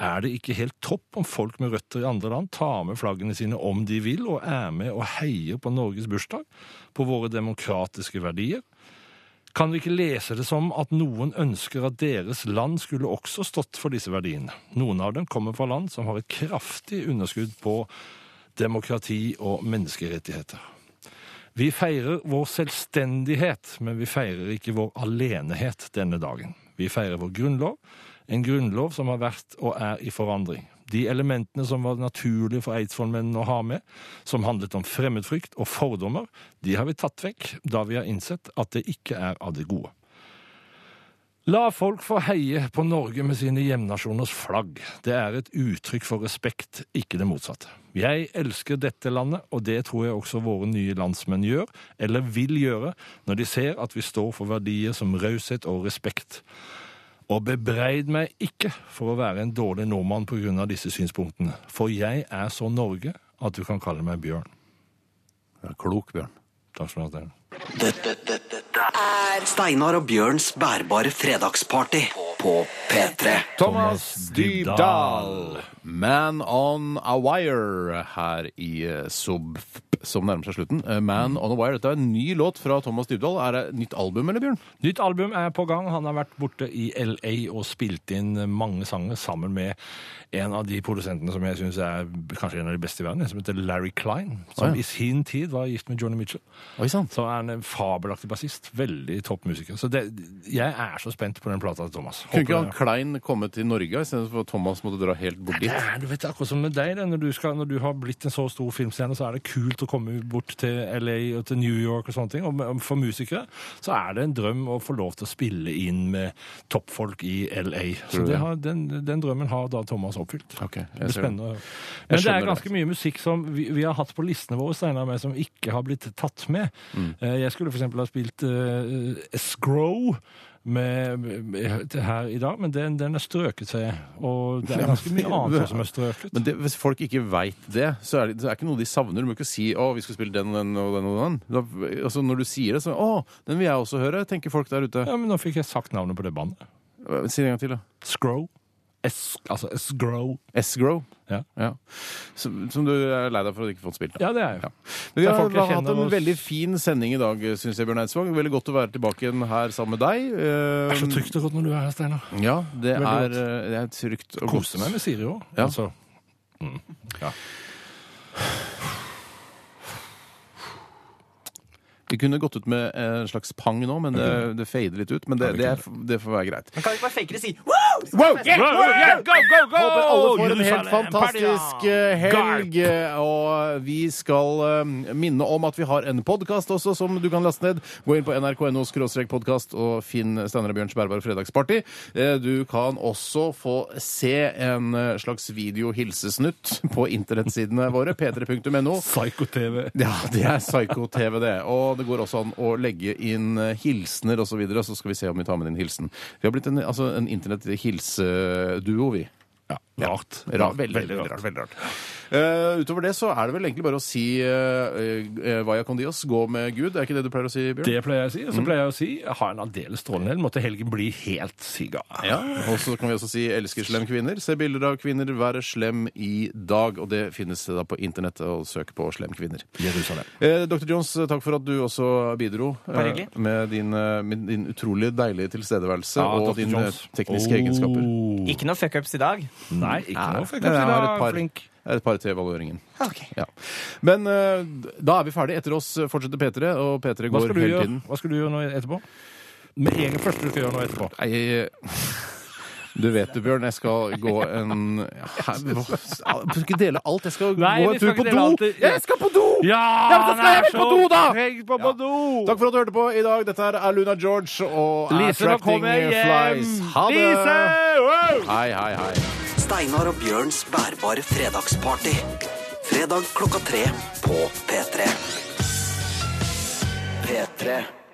[SPEAKER 3] Er det ikke helt topp om folk med røtter i andre land tar med flaggene sine om de vil, og er med og heier på Norges bursdag, på våre demokratiske verdier? Kan vi ikke lese det som at noen ønsker at deres land skulle også stått for disse verdiene? Noen av dem kommer fra land som har et kraftig underskudd på demokrati og menneskerettigheter. Vi feirer vår selvstendighet, men vi feirer ikke vår alenehet denne dagen. Vi feirer vår grunnlov, en grunnlov som har vært og er i forandring. De elementene som var naturlige for eidsvollmennene å ha med, som handlet om fremmedfrykt og fordommer, de har vi tatt vekk da vi har innsett at det ikke er av det gode. La folk få heie på Norge med sine hjemnasjoners flagg. Det er et uttrykk for respekt, ikke det motsatte. Jeg elsker dette landet, og det tror jeg også våre nye landsmenn gjør, eller vil gjøre, når de ser at vi står for verdier som raushet og respekt. Og bebreid meg ikke for å være en dårlig nordmann pga. disse synspunktene, for jeg er så Norge at du kan kalle meg Bjørn.
[SPEAKER 2] Du er klok, Bjørn.
[SPEAKER 3] Takk skal du ha. Stein.
[SPEAKER 1] Dette, dette, dette er Steinar og Bjørns bærbare fredagsparty på P3.
[SPEAKER 2] Thomas Dybdahl, Man on a Wire, her i eh, Subf, som nærmer seg slutten. Eh,
[SPEAKER 3] Mm.
[SPEAKER 2] Man on a Wire, dette er en ny låt fra Thomas Dybdahl. Er det et nytt album, eller, Bjørn?
[SPEAKER 3] Nytt album er på gang. Han har vært borte i LA og spilt inn mange sanger sammen med en av de produsentene som jeg syns er kanskje en av de beste i verden, som heter Larry Klein, som
[SPEAKER 2] Å, ja.
[SPEAKER 3] i sin tid var gift med Johnny Mitchell.
[SPEAKER 2] Oi sant.
[SPEAKER 3] Så er han en fabelaktig bassist. Veldig topp musiker. Så det, jeg er så spent på den plata til Thomas.
[SPEAKER 2] Kunne ikke
[SPEAKER 3] Håper
[SPEAKER 2] han Klein komme til Norge istedenfor at Thomas måtte dra helt bort dit?
[SPEAKER 3] er du vet, akkurat som med deg. Det, når, du skal, når du har blitt en så stor filmstjerne, så er det kult å komme bort til LA og til New York og sånne ting. Og med- for musikere så er det en drøm å få lov til å spille inn med toppfolk i LA. Så det har, den, den drømmen har da Thomas oppfylt.
[SPEAKER 2] Ok, jeg
[SPEAKER 3] det
[SPEAKER 2] ser
[SPEAKER 3] blir
[SPEAKER 2] det.
[SPEAKER 3] spennende. å høre. Men det
[SPEAKER 2] skjønner
[SPEAKER 3] er ganske mye musikk som vi, vi har hatt på listene våre, Steinar, med som ikke har blitt tatt med.
[SPEAKER 2] Mm.
[SPEAKER 3] Eh, Jeg skulle for eksempel ha spilt eh, Scrow med, med, her i dag, men den, den er strøket, ser jeg. Og det er ganske mye annet også som er strøket.
[SPEAKER 2] Men det, hvis folk ikke veit det, så er det, det er ikke noe de savner. Du må ikke si 'Å, vi skal spille den og den og den'. og den. Da, altså, når du sier det, så 'Å, den vil jeg også høre', tenker folk der ute.
[SPEAKER 3] Ja, men nå fikk jeg sagt navnet på det bandet.
[SPEAKER 2] Si det en gang til, da.
[SPEAKER 3] Scrow. S, altså Scrow.
[SPEAKER 2] S-Grow.
[SPEAKER 3] Ja.
[SPEAKER 2] Som, som du er lei deg for at du ikke fått spilt. da.
[SPEAKER 3] Ja, det er jeg.
[SPEAKER 2] Men vi
[SPEAKER 3] Det er
[SPEAKER 2] har
[SPEAKER 3] folk jeg
[SPEAKER 2] da hatt
[SPEAKER 3] kjenner,
[SPEAKER 2] en
[SPEAKER 3] og-
[SPEAKER 2] veldig fin sending i dag, syns jeg, Bjørn Eidsvåg. Veldig godt å være tilbake igjen her sammen med deg. Eh,
[SPEAKER 3] Det er så trygt og godt når du er her, Steinar.
[SPEAKER 2] Ja, det
[SPEAKER 3] Veldig
[SPEAKER 2] er,
[SPEAKER 3] godt.
[SPEAKER 2] eh, det er trygt og
[SPEAKER 3] Koste
[SPEAKER 2] godt.
[SPEAKER 3] meg med Siri òg.
[SPEAKER 2] Ja.
[SPEAKER 3] Altså.
[SPEAKER 2] Vi kunne gått ut med en slags pang nå, men det, det fader litt ut. Men det, det, er, det får være greit.
[SPEAKER 4] Men kan vi ikke bare fake det og si wow!
[SPEAKER 2] Wow!
[SPEAKER 3] go, go, go!
[SPEAKER 2] Håper alle får en helt fantastisk eh, helg. eh, Og vi skal eh, minne om at vi har en podkast også som du kan laste ned. Gå inn på nrk.no podkast og finn Steinar og Bjørns bærbare fredagsparty. Eh, Du kan også få se en eh, slags video-hilsesnutt på internettsidene våre, p3.no.
[SPEAKER 3] Psycho-TV.
[SPEAKER 2] Ja, det er psyko-TV, det. Og det går også an å legge inn eh, hilsener osv., så, videre, så skal vi se om vi tar med din hilsen. Vi har blitt en, altså, en internett-hilseduo, vi.
[SPEAKER 3] Ja, rart.
[SPEAKER 2] Ra- veldig, veldig rart. Veldig rart. Eh, utover det så er det vel egentlig bare å si uh, vaya con dios, gå med Gud. Er ikke det du pleier å si, Bjørn?
[SPEAKER 3] Det pleier jeg å si. Og så pleier jeg å si ha en aldeles strålende helg. Måtte helgen bli helt siga.
[SPEAKER 2] Ja, og så kan vi også si 'elsker slem kvinner'. Se bilder av kvinner, være slem i dag. Og det finnes da på internett, og søk på 'slem kvinner'.
[SPEAKER 3] Jerusalem.
[SPEAKER 2] Eh, Dr. Jones, takk for at du også bidro eh,
[SPEAKER 4] Bare hyggelig.
[SPEAKER 2] med, din, eh, med din utrolig deilige tilstedeværelse
[SPEAKER 3] Ja,
[SPEAKER 2] og
[SPEAKER 3] Dr.
[SPEAKER 2] dine
[SPEAKER 3] Jones. Oh.
[SPEAKER 2] tekniske egenskaper.
[SPEAKER 4] Ikke noe fuckups i dag.
[SPEAKER 3] Nei, ikke noe fuck
[SPEAKER 2] Nei, jeg
[SPEAKER 3] up i
[SPEAKER 2] har
[SPEAKER 3] dag.
[SPEAKER 2] et par-
[SPEAKER 3] Flink.
[SPEAKER 2] jeg har Eh, Et par til evalueringen.
[SPEAKER 4] Ok.
[SPEAKER 2] Ja. Men eh, da er vi ferdig. Etter oss eh, fortsetter P3, og P3
[SPEAKER 3] Hva
[SPEAKER 2] går
[SPEAKER 3] skal, du
[SPEAKER 2] hele
[SPEAKER 3] gjøre?
[SPEAKER 2] tiden.
[SPEAKER 3] Hva skal du gjøre nå etterpå? Med en gang første du skal gjøre nå etterpå.
[SPEAKER 2] Nei, jeg- du vet det, Bjørn. Jeg skal gå en Hæ, hva- Du skal ikke dele alt. Jeg skal
[SPEAKER 3] Nei,
[SPEAKER 2] gå en
[SPEAKER 3] vi skal
[SPEAKER 2] tur
[SPEAKER 3] ikke
[SPEAKER 2] på
[SPEAKER 3] dele alt.
[SPEAKER 2] do! Jeg skal på do! Ja, men da skal jeg
[SPEAKER 3] det er
[SPEAKER 2] på
[SPEAKER 3] så
[SPEAKER 2] do, da!
[SPEAKER 3] trengt på, på do!
[SPEAKER 2] Takk for at du hørte på i dag. Dette her er Luna George og
[SPEAKER 3] Lise, nå
[SPEAKER 2] Attracting
[SPEAKER 3] kommer jeg hjem!
[SPEAKER 2] Flies. Ha det!
[SPEAKER 3] Lise! Wow!
[SPEAKER 2] Hei, hei, hei.
[SPEAKER 1] Steinar og Bjørns bærbare fredagsparty. Fredag klokka tre på P3. P3.